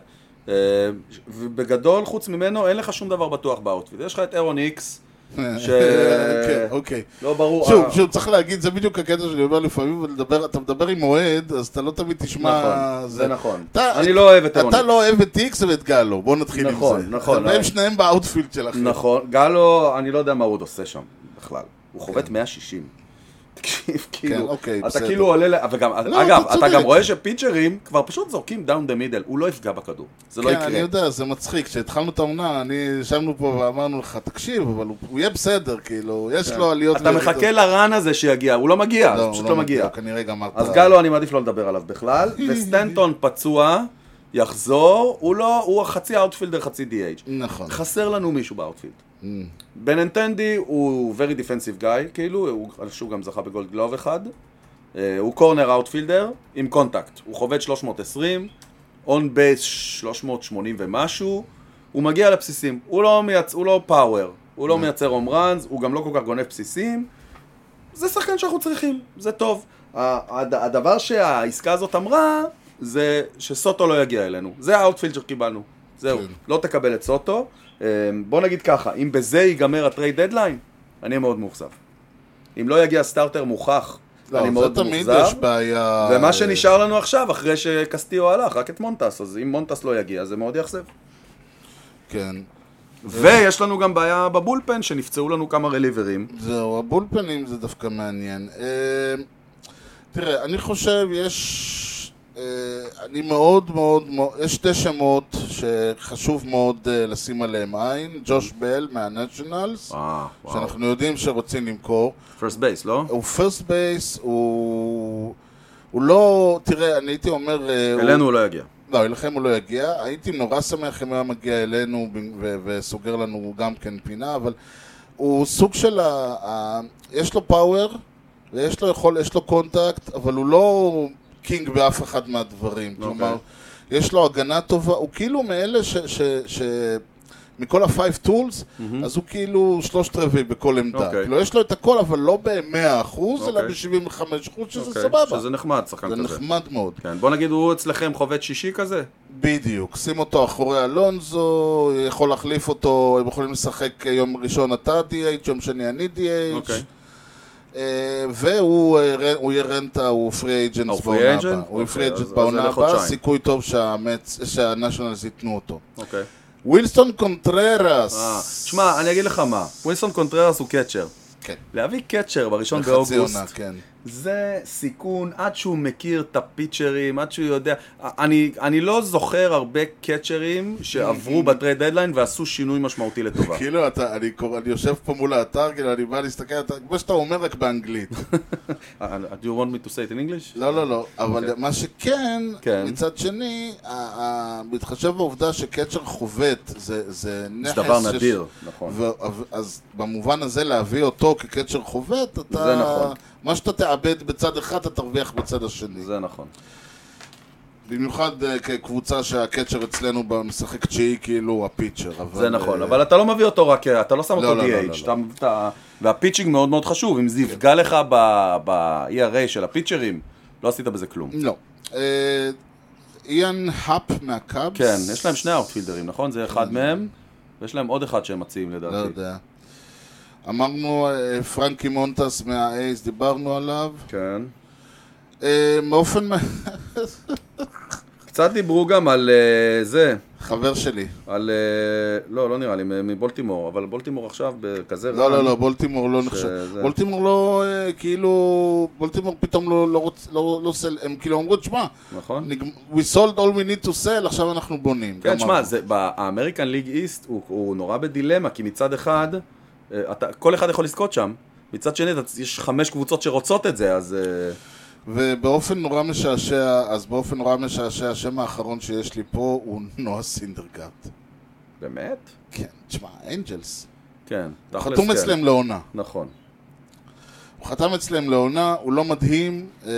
Speaker 2: אה, ובגדול, חוץ ממנו, אין לך שום דבר בטוח באוטפיט. יש לך את אירון איקס, ש...
Speaker 1: כן, אוקיי.
Speaker 2: לא ברור.
Speaker 1: שוב,
Speaker 2: אה,
Speaker 1: שוב, צריך להגיד, זה בדיוק הקטע שאני אומר לפעמים, לדבר- אתה מדבר עם אוהד, אז אתה לא תמיד תשמע...
Speaker 2: נכון, זה נכון.
Speaker 1: אתה-
Speaker 2: אני לא אוהב את אירון
Speaker 1: אתה
Speaker 2: איקס.
Speaker 1: לא אוהב את איקס ואת גלו, בוא נתחיל עם זה.
Speaker 2: נכון, נכון,
Speaker 1: אבל הם
Speaker 2: נכון.
Speaker 1: שניהם באאוטפילד שלכם.
Speaker 2: נכון, גלו, אני לא יודע מה הוא עוד עושה שם בכלל. הוא חובט 160. תקשיב, כאילו,
Speaker 1: כן. אוקיי,
Speaker 2: אתה
Speaker 1: בסדר.
Speaker 2: כאילו עולה, ל- וגם,
Speaker 1: לא,
Speaker 2: אגב,
Speaker 1: אתה
Speaker 2: אתה גם
Speaker 1: צודק.
Speaker 2: רואה שפיצ'רים כבר פשוט זורקים דאון דה מידל, הוא לא יפגע בכדור, זה לא
Speaker 1: כן, אני
Speaker 2: יקרה.
Speaker 1: יודע, זה מצחיק. כשהתחלנו את העונה, אני ישבנו פה ואמרנו לך, תקשיב, אבל הוא- הוא יהיה בסדר, כאילו, יש לו עליות...
Speaker 2: כן. אתה
Speaker 1: וירידות."
Speaker 2: מחכה לרן הזה שיגיע, הוא לא מגיע,
Speaker 1: לא,
Speaker 2: הוא
Speaker 1: הוא
Speaker 2: פשוט לא מגיע.
Speaker 1: כנראה גמרת...
Speaker 2: אז גלו, אני מעדיף לא לדבר עליו בכלל, וסטנטון פצוע, יחזור, הוא לא, הוא חצי אאוטפילדר, חצי DH.
Speaker 1: נכון.
Speaker 2: חסר לנו מישהו באאוטפילד. בננטנדי הוא very defensive guy, כאילו, הוא, אני חושב שהוא גם זכה בגולד גלוב אחד. אה, הוא קורנר אאוטפילדר עם קונטקט. הוא חובד 320, און בייס 380 ומשהו. הוא מגיע לבסיסים, הוא לא, מייצ... הוא לא פאוור, הוא
Speaker 1: Mm.
Speaker 2: לא מייצר הום ראנס, הוא גם לא כל כך גונב בסיסים. זה שחקן שאנחנו צריכים, זה טוב. ה- הד- הדבר שהעסקה הזאת אמרה, זה שסוטו לא יגיע אלינו. זה האאוטפילד שקיבלנו. זהו,
Speaker 1: כן.
Speaker 2: לא תקבל את סוטו. אה, בוא נגיד ככה, אם בזה ייגמר הטרייד דדליין, אני אהיה מאוד מאוכזב. אם לא יגיע סטארטר מוכח,
Speaker 1: לא,
Speaker 2: אני
Speaker 1: זה
Speaker 2: מאוד
Speaker 1: תמיד
Speaker 2: מאוכזב.
Speaker 1: יש בעיה...
Speaker 2: ומה שנשאר לנו עכשיו, אחרי שקסטיו הלך, רק את מונטס, אז אם מונטס לא יגיע, זה מאוד יאכזב.
Speaker 1: כן.
Speaker 2: ויש לנו גם בעיה בבולפן, שנפצעו לנו כמה רליברים.
Speaker 1: זהו, הבולפנים זה דווקא מעניין. אה, תראה, אני חושב, יש... אה, אני מאוד מאוד... מאוד- יש שתי שמות שחשוב מאוד אה, לשים עליהם עין. ג'וש בל מהנשיונלס,
Speaker 2: אה,
Speaker 1: שאנחנו יודעים שרוצים למכור.
Speaker 2: פרסט בייס, לא?
Speaker 1: הוא פרסט בייס, הוא... הוא לא, תראה, אני הייתי אומר... אה, הוא-
Speaker 2: אלינו הוא לא יגיע.
Speaker 1: לא, אליכם הוא לא יגיע. הייתי נורא שמח אם הוא היה מגיע אלינו ב- ו- וסוגר לנו גם כן פינה, אבל הוא סוג של ה... ה... יש לו פאוור, ויש לו יכול, יש לו קונטקט, אבל הוא לא קינג באף אחד מהדברים.
Speaker 2: אוקיי.
Speaker 1: כלומר, יש לו הגנה טובה, הוא כאילו מאלה ש... ש, ש מכל הפייב טולס, mm-hmm. אז הוא כאילו שלושת רבעי בכל עמדה. Okay.
Speaker 2: אוקיי.
Speaker 1: כאילו, יש לו את הכל, אבל לא ב-100 אחוז, okay. אלא
Speaker 2: אוקיי.
Speaker 1: ב-75 אחוז, שזה
Speaker 2: אוקיי,
Speaker 1: סבבה.
Speaker 2: שזה נחמד, שחקן
Speaker 1: זה
Speaker 2: כזה.
Speaker 1: נחמד מאוד.
Speaker 2: כן, בוא נגיד, הוא אצלכם חובד שישי כזה?
Speaker 1: בדיוק, שים אותו אחורי אלונזו, יכול להחליף אותו, הם יכולים לשחק אה, יום ראשון אתה DH, יום שני אני DH,
Speaker 2: אוקיי.
Speaker 1: אה, והוא אה, ר- הוא יהיה רנטה, הוא פרי
Speaker 2: הוא
Speaker 1: אייג'נט
Speaker 2: free
Speaker 1: בעונה
Speaker 2: agent?
Speaker 1: הבאה. הוא
Speaker 2: אוקיי,
Speaker 1: פרי
Speaker 2: אז-
Speaker 1: אייג'נט
Speaker 2: אז זה
Speaker 1: בעונה הבאה,
Speaker 2: לחודשיים.
Speaker 1: סיכוי טוב שהמץ- שהנשיונלס ייתנו אותו.
Speaker 2: אוקיי.
Speaker 1: ווילסטון
Speaker 2: אה,
Speaker 1: קונטררס.
Speaker 2: תשמע, אני אגיד לך מה, ווינסטון קונטררס הוא קצ'ר.
Speaker 1: כן.
Speaker 2: להביא קצ'ר בראשון
Speaker 1: בחצי עונה,
Speaker 2: באוגוסט,
Speaker 1: כן.
Speaker 2: זה סיכון עד שהוא מכיר את הפיצ'רים, עד שהוא יודע. אני, אני לא זוכר הרבה קצ'רים שעברו בטרייד דדליין ועשו שינוי משמעותי לטובה.
Speaker 1: כאילו, אתה- אני קורא- אני יושב פה מול האתר, כאילו, אני בא להסתכל, אתה- כמו שאתה אומר, רק באנגלית.
Speaker 2: אה, Do you want me to say it in English?
Speaker 1: לא, לא, לא, אבל מה שכן,
Speaker 2: אוקיי. כן.
Speaker 1: מצד שני, ה- ה- בהתחשב בעובדה שקצ'ר חובט, זה זה נכס...
Speaker 2: זה דבר
Speaker 1: ש-
Speaker 2: נדיר, נכון.
Speaker 1: ו- ו- אז במובן הזה להביא אותו כקצ'ר חובט, אתה...
Speaker 2: זה נכון.
Speaker 1: מה שאתה תאבד בצד אחד, אתה תרוויח בצד השני.
Speaker 2: זה נכון.
Speaker 1: במיוחד אה, כקבוצה שהקצ'ר אצלנו בה משחק תשיעי, כאילו, הוא הפיצ'ר. אבל,
Speaker 2: זה נכון,
Speaker 1: אה,
Speaker 2: אבל אתה לא מביא אותו רק, אתה לא שם
Speaker 1: לא,
Speaker 2: אותו
Speaker 1: לא, לא,
Speaker 2: DH,
Speaker 1: לא,
Speaker 2: אתה- אתה- והפיצ'ינג מאוד מאוד חשוב, אם זה יפגע לך ב- ב-ERA של הפיצ'רים, לא עשית בזה כלום.
Speaker 1: לא. אה, איאן האפ מהקאבס?
Speaker 2: כן, יש להם שני אאוטפילדרים, נכון? זה אחד מהם, ויש להם עוד אחד שהם מציעים
Speaker 1: לא
Speaker 2: לדעתי.
Speaker 1: יודע. אמרנו, אה, פרנקי מונטס מהאייס, דיברנו עליו.
Speaker 2: כן.
Speaker 1: אה, באופן... מ-
Speaker 2: קצת דיברו גם על אה, זה,
Speaker 1: חבר שלי.
Speaker 2: על... אה, לא, לא נראה לי, מ- מבולטימור, אבל בולטימור עכשיו בכזה...
Speaker 1: לא,
Speaker 2: רן.
Speaker 1: לא, לא, בולטימור לא נחשב.
Speaker 2: זה-
Speaker 1: בולטימור לא, אה, כאילו... בולטימור פתאום לא לא רוצ... לא לא סל... הם כאילו אמרו, תשמע,
Speaker 2: נכון?
Speaker 1: נגמ- we sold all we need to sell, עכשיו אנחנו בונים.
Speaker 2: כן,
Speaker 1: גמרנו.
Speaker 2: שמע, זה- ב- האמריקן ליג איסט הוא- הוא נורא בדילמה, כי מצד אחד, אה, אתה- כל אחד יכול לזכות שם, מצד שני, אתה- יש חמש קבוצות שרוצות את זה, אז... אה,
Speaker 1: ובאופן נורא משעשע, אז באופן נורא משעשע, השם האחרון שיש לי פה הוא נועה סינדרגרד.
Speaker 2: באמת?
Speaker 1: כן, תשמע, אנג'לס.
Speaker 2: כן. תכלס,
Speaker 1: חתום
Speaker 2: כן.
Speaker 1: אצלם לעונה.
Speaker 2: נכון.
Speaker 1: הוא חתם אצלם לעונה, הוא לא מדהים, אה,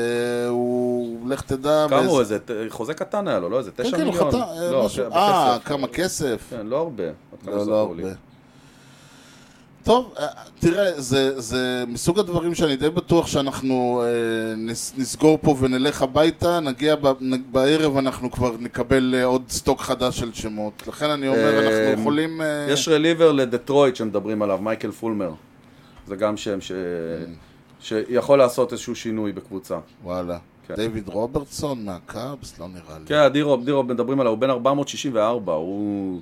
Speaker 1: הוא... לך תדע...
Speaker 2: כמה
Speaker 1: באיזה-
Speaker 2: הוא איזה, ת- חוזה קטן היה לו, לא איזה
Speaker 1: כן,
Speaker 2: תשע
Speaker 1: כן, הוא
Speaker 2: מיליון?
Speaker 1: חתם... אה,
Speaker 2: לא,
Speaker 1: משהו-
Speaker 2: בכסף.
Speaker 1: אה, כמה כסף.
Speaker 2: כן, לא הרבה. עד כמה
Speaker 1: לא, לא
Speaker 2: שזכור לי.
Speaker 1: הרבה. טוב, אה, תראה, זה, זה מסוג הדברים שאני די בטוח שאנחנו אה, נס, נסגור פה ונלך הביתה, נגיע ב, נ, בערב, אנחנו כבר נקבל אה, עוד סטוק חדש של שמות. לכן אני אומר,
Speaker 2: אה,
Speaker 1: אנחנו יכולים... אה,
Speaker 2: יש רליבר לדטרויט שמדברים עליו, מייקל פולמר. זה גם שם ש...
Speaker 1: כן.
Speaker 2: שיכול לעשות איזשהו שינוי בקבוצה.
Speaker 1: וואלה.
Speaker 2: כן.
Speaker 1: דיוויד רוברטסון מהקאבס? לא נראה לי.
Speaker 2: כן, אדירוב, אדירוב מדברים עליו, הוא בן 464, הוא...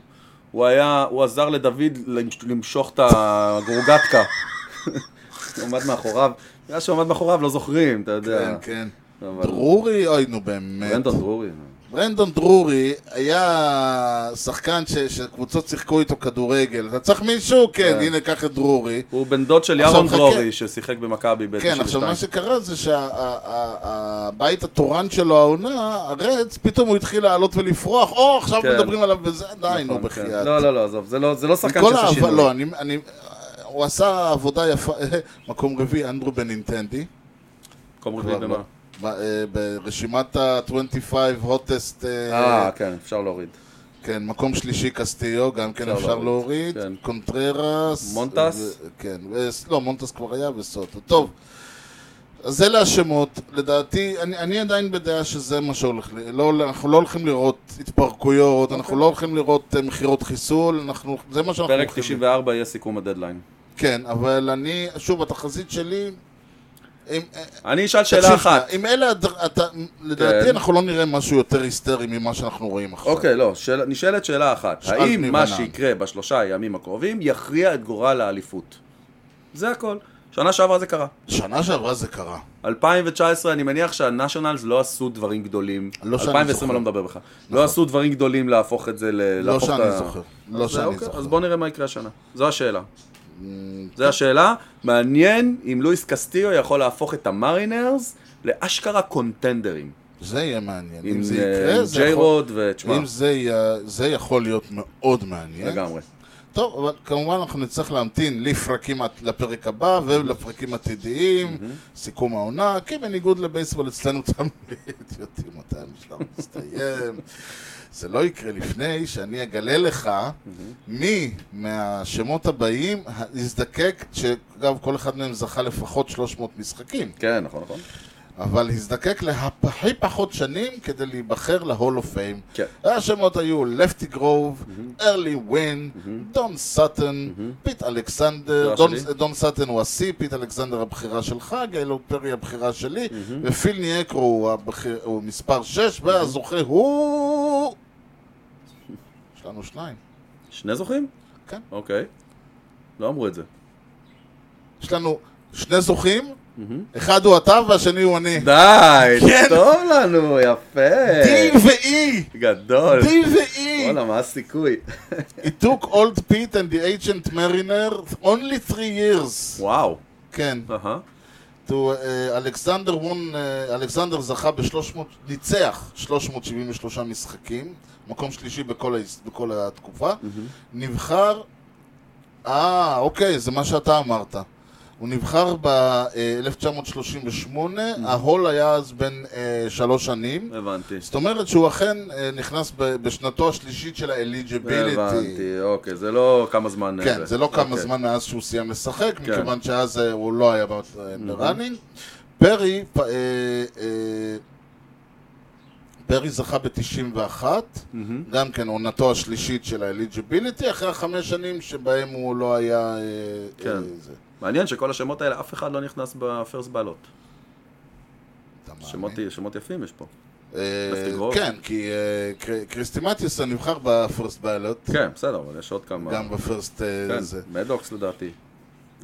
Speaker 2: הוא היה, הוא עזר לדוד למש- למשוך את הגורגטקה. הוא עמד מאחוריו, בגלל שהוא עמד מאחוריו לא זוכרים, אתה יודע.
Speaker 1: כן, כן.
Speaker 2: אבל-
Speaker 1: דרורי? אוי, נו באמת.
Speaker 2: ברנדון דרורי.
Speaker 1: ברנדון דרורי היה שחקן ש, שקבוצות שיחקו איתו כדורגל. אתה צריך מישהו? כן,
Speaker 2: כן.
Speaker 1: הנה, קח את דרורי.
Speaker 2: הוא בן דוד של
Speaker 1: עכשיו,
Speaker 2: ירון
Speaker 1: חכה.
Speaker 2: דרורי, ששיחק במכבי ב-92.
Speaker 1: כן, עכשיו מה שקרה זה שהבית התורן שלו העונה, הרץ, פתאום הוא התחיל לעלות ולפרוח, או עכשיו
Speaker 2: כן.
Speaker 1: מדברים עליו בזה, די, נו,
Speaker 2: נכון, כן.
Speaker 1: בחייאת.
Speaker 2: לא, לא, לא, עזוב, זה לא- זה לא שחקן
Speaker 1: כל
Speaker 2: שעושה
Speaker 1: האהבה,
Speaker 2: שינוי.
Speaker 1: לא, אני, אני- הוא עשה עבודה יפה, מקום רביעי, אנדרו בנינטנדי.
Speaker 2: מקום רביעי
Speaker 1: כבר
Speaker 2: במה?
Speaker 1: לא. ב- אה, ברשימת ה-25 הוטסט,
Speaker 2: אה, כן, אפשר להוריד.
Speaker 1: כן, מקום שלישי קסטיו, גם כן
Speaker 2: אפשר
Speaker 1: אפשר
Speaker 2: להוריד,
Speaker 1: להוריד,
Speaker 2: כן.
Speaker 1: קונטררס,
Speaker 2: מונטס?
Speaker 1: ו- כן, ו- לא, מונטס כבר היה וסוטו, טוב, אז אלה השמות, לדעתי, אני, אני עדיין בדעה שזה מה שהולך, ל- לא, אנחנו לא הולכים לראות התפרקויות, אנחנו לא הולכים לראות אה, מכירות חיסול, אנחנו, זה מה שאנחנו
Speaker 2: אוקיי. פרק
Speaker 1: הולכים,
Speaker 2: 94 יהיה סיכום הדדליין.
Speaker 1: כן, אבל אני, שוב, התחזית שלי, אם, אה,
Speaker 2: אני אשאל שאלה
Speaker 1: תקשיב,
Speaker 2: אחת.
Speaker 1: אם אלה, הדר- אתה, לדעתי
Speaker 2: כן.
Speaker 1: אנחנו לא נראה משהו יותר היסטרי ממה שאנחנו רואים עכשיו,
Speaker 2: אוקיי, לא, שאל- נשאלת שאלה אחת.
Speaker 1: שאל
Speaker 2: האם
Speaker 1: בני
Speaker 2: מה
Speaker 1: בנן.
Speaker 2: שיקרה בשלושה הימים הקרובים יכריע את גורל האליפות? זה הכל. שנה שעברה זה קרה.
Speaker 1: שנה שעברה זה קרה.
Speaker 2: 2019, אני מניח שהנשיונלס לא עשו דברים גדולים.
Speaker 1: לא שאני
Speaker 2: 2020,
Speaker 1: זוכר. נכון.
Speaker 2: אני לא מדבר בכלל. לא עשו דברים גדולים להפוך את זה ל...
Speaker 1: לא
Speaker 2: להפוך את
Speaker 1: שאני
Speaker 2: ה-
Speaker 1: זוכר. לא
Speaker 2: אז זה
Speaker 1: שאני
Speaker 2: אוקיי,
Speaker 1: זוכר. Mm,
Speaker 2: אז בואו נראה מה יקרה השנה. זו השאלה. זו השאלה. מעניין אם לואיס קסטיו יכול להפוך את המרינרס לאשכרה קונטנדרים.
Speaker 1: זה יהיה מעניין.
Speaker 2: עם
Speaker 1: אם זה יקרה, זה
Speaker 2: ג'יי
Speaker 1: יכול...
Speaker 2: רוד ותשמע,
Speaker 1: אם זה יהיה- זה יכול להיות מאוד מעניין.
Speaker 2: לגמרי.
Speaker 1: טוב, אבל כמובן אנחנו נצטרך להמתין לפרקים, עד- לפרק הבא ולפרקים עתידיים, סיכום העונה, כי בניגוד לבייסבול אצלנו תמיד יודעים מתי המשלב מסתיים. זה לא יקרה לפני שאני אגלה לך מי מהשמות הבאים יזדקק, שאגב כל אחד מהם זכה לפחות 300 משחקים.
Speaker 2: כן, נכון, נכון.
Speaker 1: אבל הזדקק להכי פחות שנים כדי להיבחר להול אוף פיים.
Speaker 2: כן.
Speaker 1: השמות היו לפטי גרוב, ארלי ווין, דון סאטן, פיט אלכסנדר,
Speaker 2: הבחירה
Speaker 1: דון-
Speaker 2: שלי.
Speaker 1: דון סאטן הוא השיא, פיט אלכסנדר הבחירה שלך, גיילו פרי הבחירה שלי, ופיל ניאקרו הוא הבחיר- הוא מספר 6, והזוכה הוא... יש לנו שניים.
Speaker 2: שני זוכים?
Speaker 1: כן.
Speaker 2: אוקיי. לא אמרו את זה.
Speaker 1: יש לנו שני זוכים, אחד הוא אתה והשני הוא אני.
Speaker 2: די,
Speaker 1: כן.
Speaker 2: טוב לנו, יפה.
Speaker 1: D ו-E!
Speaker 2: גדול.
Speaker 1: D E. ו-E!
Speaker 2: וואלה, מה הסיכוי?
Speaker 1: It took old Pete and the ancient mariner only three years.
Speaker 2: וואו.
Speaker 1: כן.
Speaker 2: אהה.
Speaker 1: To, uh, אלכסנדר וון, uh, אלכסנדר זכה ב-300, ניצח 373 משחקים, מקום שלישי בכל, ההיס- בכל התקופה. נבחר, אה, אוקיי, זה מה שאתה אמרת. הוא נבחר אה, ב-1938, ההול היה אז בן אה, שלוש שנים.
Speaker 2: הבנתי.
Speaker 1: זאת אומרת שהוא אכן אה, נכנס ב- בשנתו השלישית של האליג'יביליטי.
Speaker 2: הבנתי, אוקיי, זה לא כמה זמן...
Speaker 1: כן, זה לא כמה
Speaker 2: אוקיי.
Speaker 1: זמן מאז שהוא סיים לשחק,
Speaker 2: כן.
Speaker 1: מכיוון שאז אה, הוא לא היה ב- אה, בראנינג. פרי, פ- אה, אה, פרי זכה ב-91, גם כן עונתו השלישית של האליג'יביליטי, אחרי החמש שנים שבהם הוא לא היה... אה,
Speaker 2: כן.
Speaker 1: אה, זה.
Speaker 2: מעניין שכל השמות האלה, אף אחד לא נכנס בפרס בעלות.
Speaker 1: אה, אתה מאמין?
Speaker 2: שמות שמות יפים יש פה.
Speaker 1: אה,
Speaker 2: לפטי גרוב.
Speaker 1: כן, כי אה, קר- קריסטי מתיוסון נבחר בפרסט ביילוט,
Speaker 2: כן, בסדר, אבל יש עוד כמה.
Speaker 1: גם בפרסט אה, זה.
Speaker 2: כן, מדוקס לדעתי.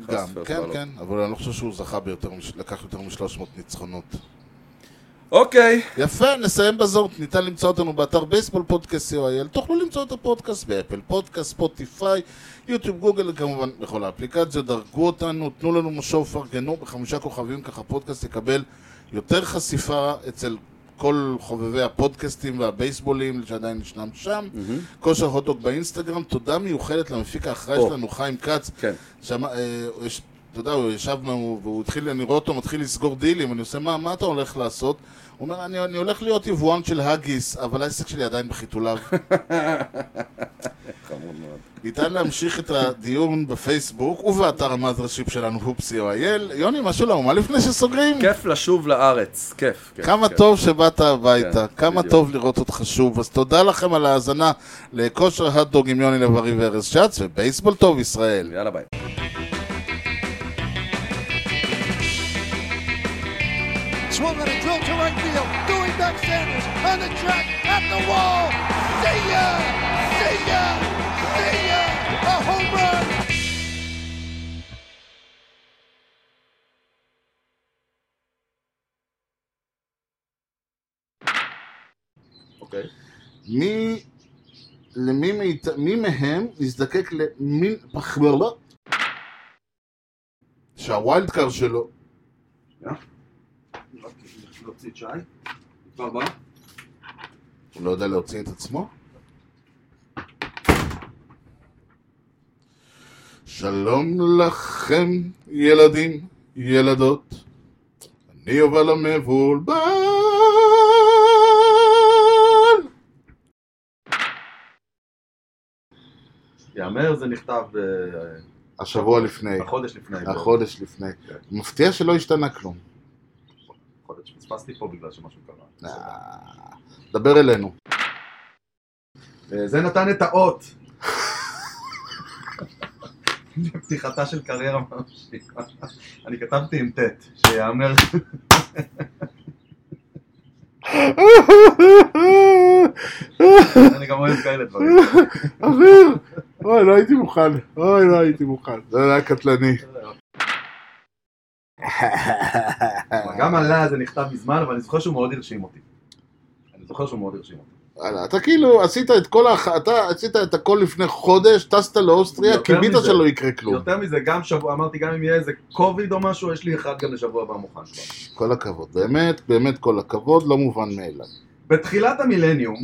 Speaker 1: גם,
Speaker 2: נכנס בפרס
Speaker 1: כן,
Speaker 2: בעלות.
Speaker 1: כן, אבל אני לא חושב שהוא זכה ביותר, מש- לקח יותר מ-300 ניצחונות.
Speaker 2: אוקיי.
Speaker 1: יפה, נסיים בזאת. ניתן למצוא אותנו באתר בייסבול פודקאסט co.il. תוכלו למצוא את הפודקאסט באפל פודקאסט, ספוטיפיי, יוטיוב, גוגל, כמובן בכל האפליקציות. דרגו אותנו, תנו לנו משוב, פרגנו בחמישה כוכבים, ככה הפודקאסט יקבל יותר חשיפה אצל כל חובבי הפודקאסטים והבייסבולים שעדיין ישנם שם. כושר הוטדוק באינסטגרם. תודה מיוחדת למפיק האחראי
Speaker 2: או.
Speaker 1: שלנו, חיים כץ.
Speaker 2: כן.
Speaker 1: שמע, אה, הוא יש- אתה יודע, הוא ישב, והוא והוא התחיל, אני רואה אותו מתחיל לסגור דילים, אני עושה, מה, מה אתה הולך לעשות? הוא אומר, אני, אני הולך להיות יבואן של האגיס, אבל העסק שלי עדיין בחיתוליו.
Speaker 2: חמוד מאוד.
Speaker 1: ניתן להמשיך את הדיון בפייסבוק ובאתר המאזרשיפ שלנו, הופסי או אייל. יוני, משהו לאומה לפני שסוגרים?
Speaker 2: כיף לשוב לארץ, כיף. כיף,
Speaker 1: כמה
Speaker 2: כיף.
Speaker 1: טוב שבאת הביתה,
Speaker 2: כן,
Speaker 1: כמה
Speaker 2: בדיוק.
Speaker 1: טוב לראות אותך שוב. אז תודה לכם על ההאזנה לכושר הדוג עם יוני לב-ארי וארז שץ, ובייסבול טוב ישראל.
Speaker 2: יאללה ביי.
Speaker 6: Swung and a drill to right field. Doing back Sanders on the track at the wall. See ya! See ya! See ya! A home run!
Speaker 4: אוקיי.
Speaker 1: מי, למי מאית, מי מהם נזדקק למין פחמרלה? שהווילד קאר שלו.
Speaker 4: רק להוציא את שי. כבר בא?
Speaker 1: הוא לא יודע להוציא את עצמו? שלום לכם, ילדים, ילדות. אני יובל המבולבל.
Speaker 4: יאמר, זה נכתב אה,
Speaker 1: השבוע לפני,
Speaker 2: נכון.
Speaker 4: החודש לפני.
Speaker 1: החודש לפני. מפתיע שלא השתנה כלום.
Speaker 4: חודש. פספסתי פה בגלל שמשהו קרה.
Speaker 1: אה, דבר אלינו.
Speaker 4: אה, זה נתן את האות. פתיחתה של קריירה ממשיכה. אני כתבתי עם ט', שיאמר אני גם אוהב כאלה דברים.
Speaker 1: אביר! אוי, לא הייתי מוכן. אוי, לא הייתי מוכן. זה היה קטלני. אה.
Speaker 4: גם עלה זה נכתב מזמן, אבל אני זוכר שהוא מאוד הרשים אותי. אני זוכר שהוא מאוד הרשים אותי.
Speaker 1: וואלה, אתה כאילו עשית את כל ההכ... אתה עשית את הכל לפני חודש, טסת לאוסטריה,
Speaker 4: יותר
Speaker 1: קיווית
Speaker 4: מזה.
Speaker 1: שלא יקרה כלום.
Speaker 4: יותר מזה, גם שבוע, אמרתי, גם אם יהיה איזה קוביד או משהו, יש לי אחד גם לשבוע הבא מוכן כבר.
Speaker 1: כל הכבוד, באמת, באמת כל הכבוד, לא מובן מאליו.
Speaker 4: בתחילת המילניום,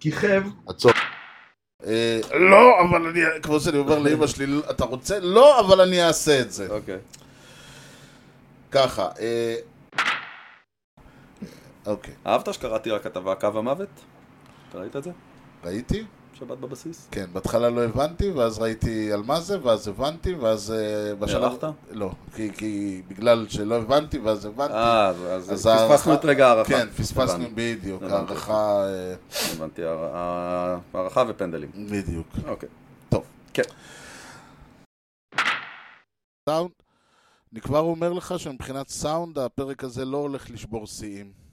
Speaker 4: כיכב,
Speaker 1: עצור. אה, לא, אבל אני... כמו שאני אומר לאמא שלי, אתה רוצה? לא, אבל אני אעשה את זה.
Speaker 2: אוקיי.
Speaker 1: ככה. אה, אוקיי,
Speaker 2: אהבת שקראתי על הכתבה קו המוות? אתה ראית את זה?
Speaker 1: ראיתי?
Speaker 2: שבת בבסיס?
Speaker 1: כן, בהתחלה לא הבנתי, ואז ראיתי על מה זה, ואז הבנתי, ואז... אה,
Speaker 2: נערכת?
Speaker 1: לא, כי, כי בגלל שלא הבנתי, ואז הבנתי.
Speaker 2: אה, אז- אז
Speaker 1: אז
Speaker 2: פספסנו
Speaker 1: הערכה-
Speaker 2: את רגע ההערכה.
Speaker 1: כן, פספסנו
Speaker 2: הבנתי,
Speaker 1: בדיוק,
Speaker 2: הבנתי.
Speaker 1: הערכה... אה,
Speaker 2: הבנתי, הע- הע- הערכה ופנדלים.
Speaker 1: בדיוק.
Speaker 2: אוקיי.
Speaker 1: טוב.
Speaker 2: כן.
Speaker 1: סאונד, אני כבר אומר לך שמבחינת סאונד הפרק הזה לא הולך לשבור שיאים.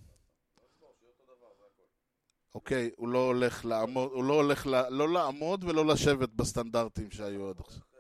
Speaker 1: אוקיי, הוא לא הולך לעמוד, הוא לא הולך ל... לא לעמוד ולא לשבת בסטנדרטים שהיו עד עכשיו.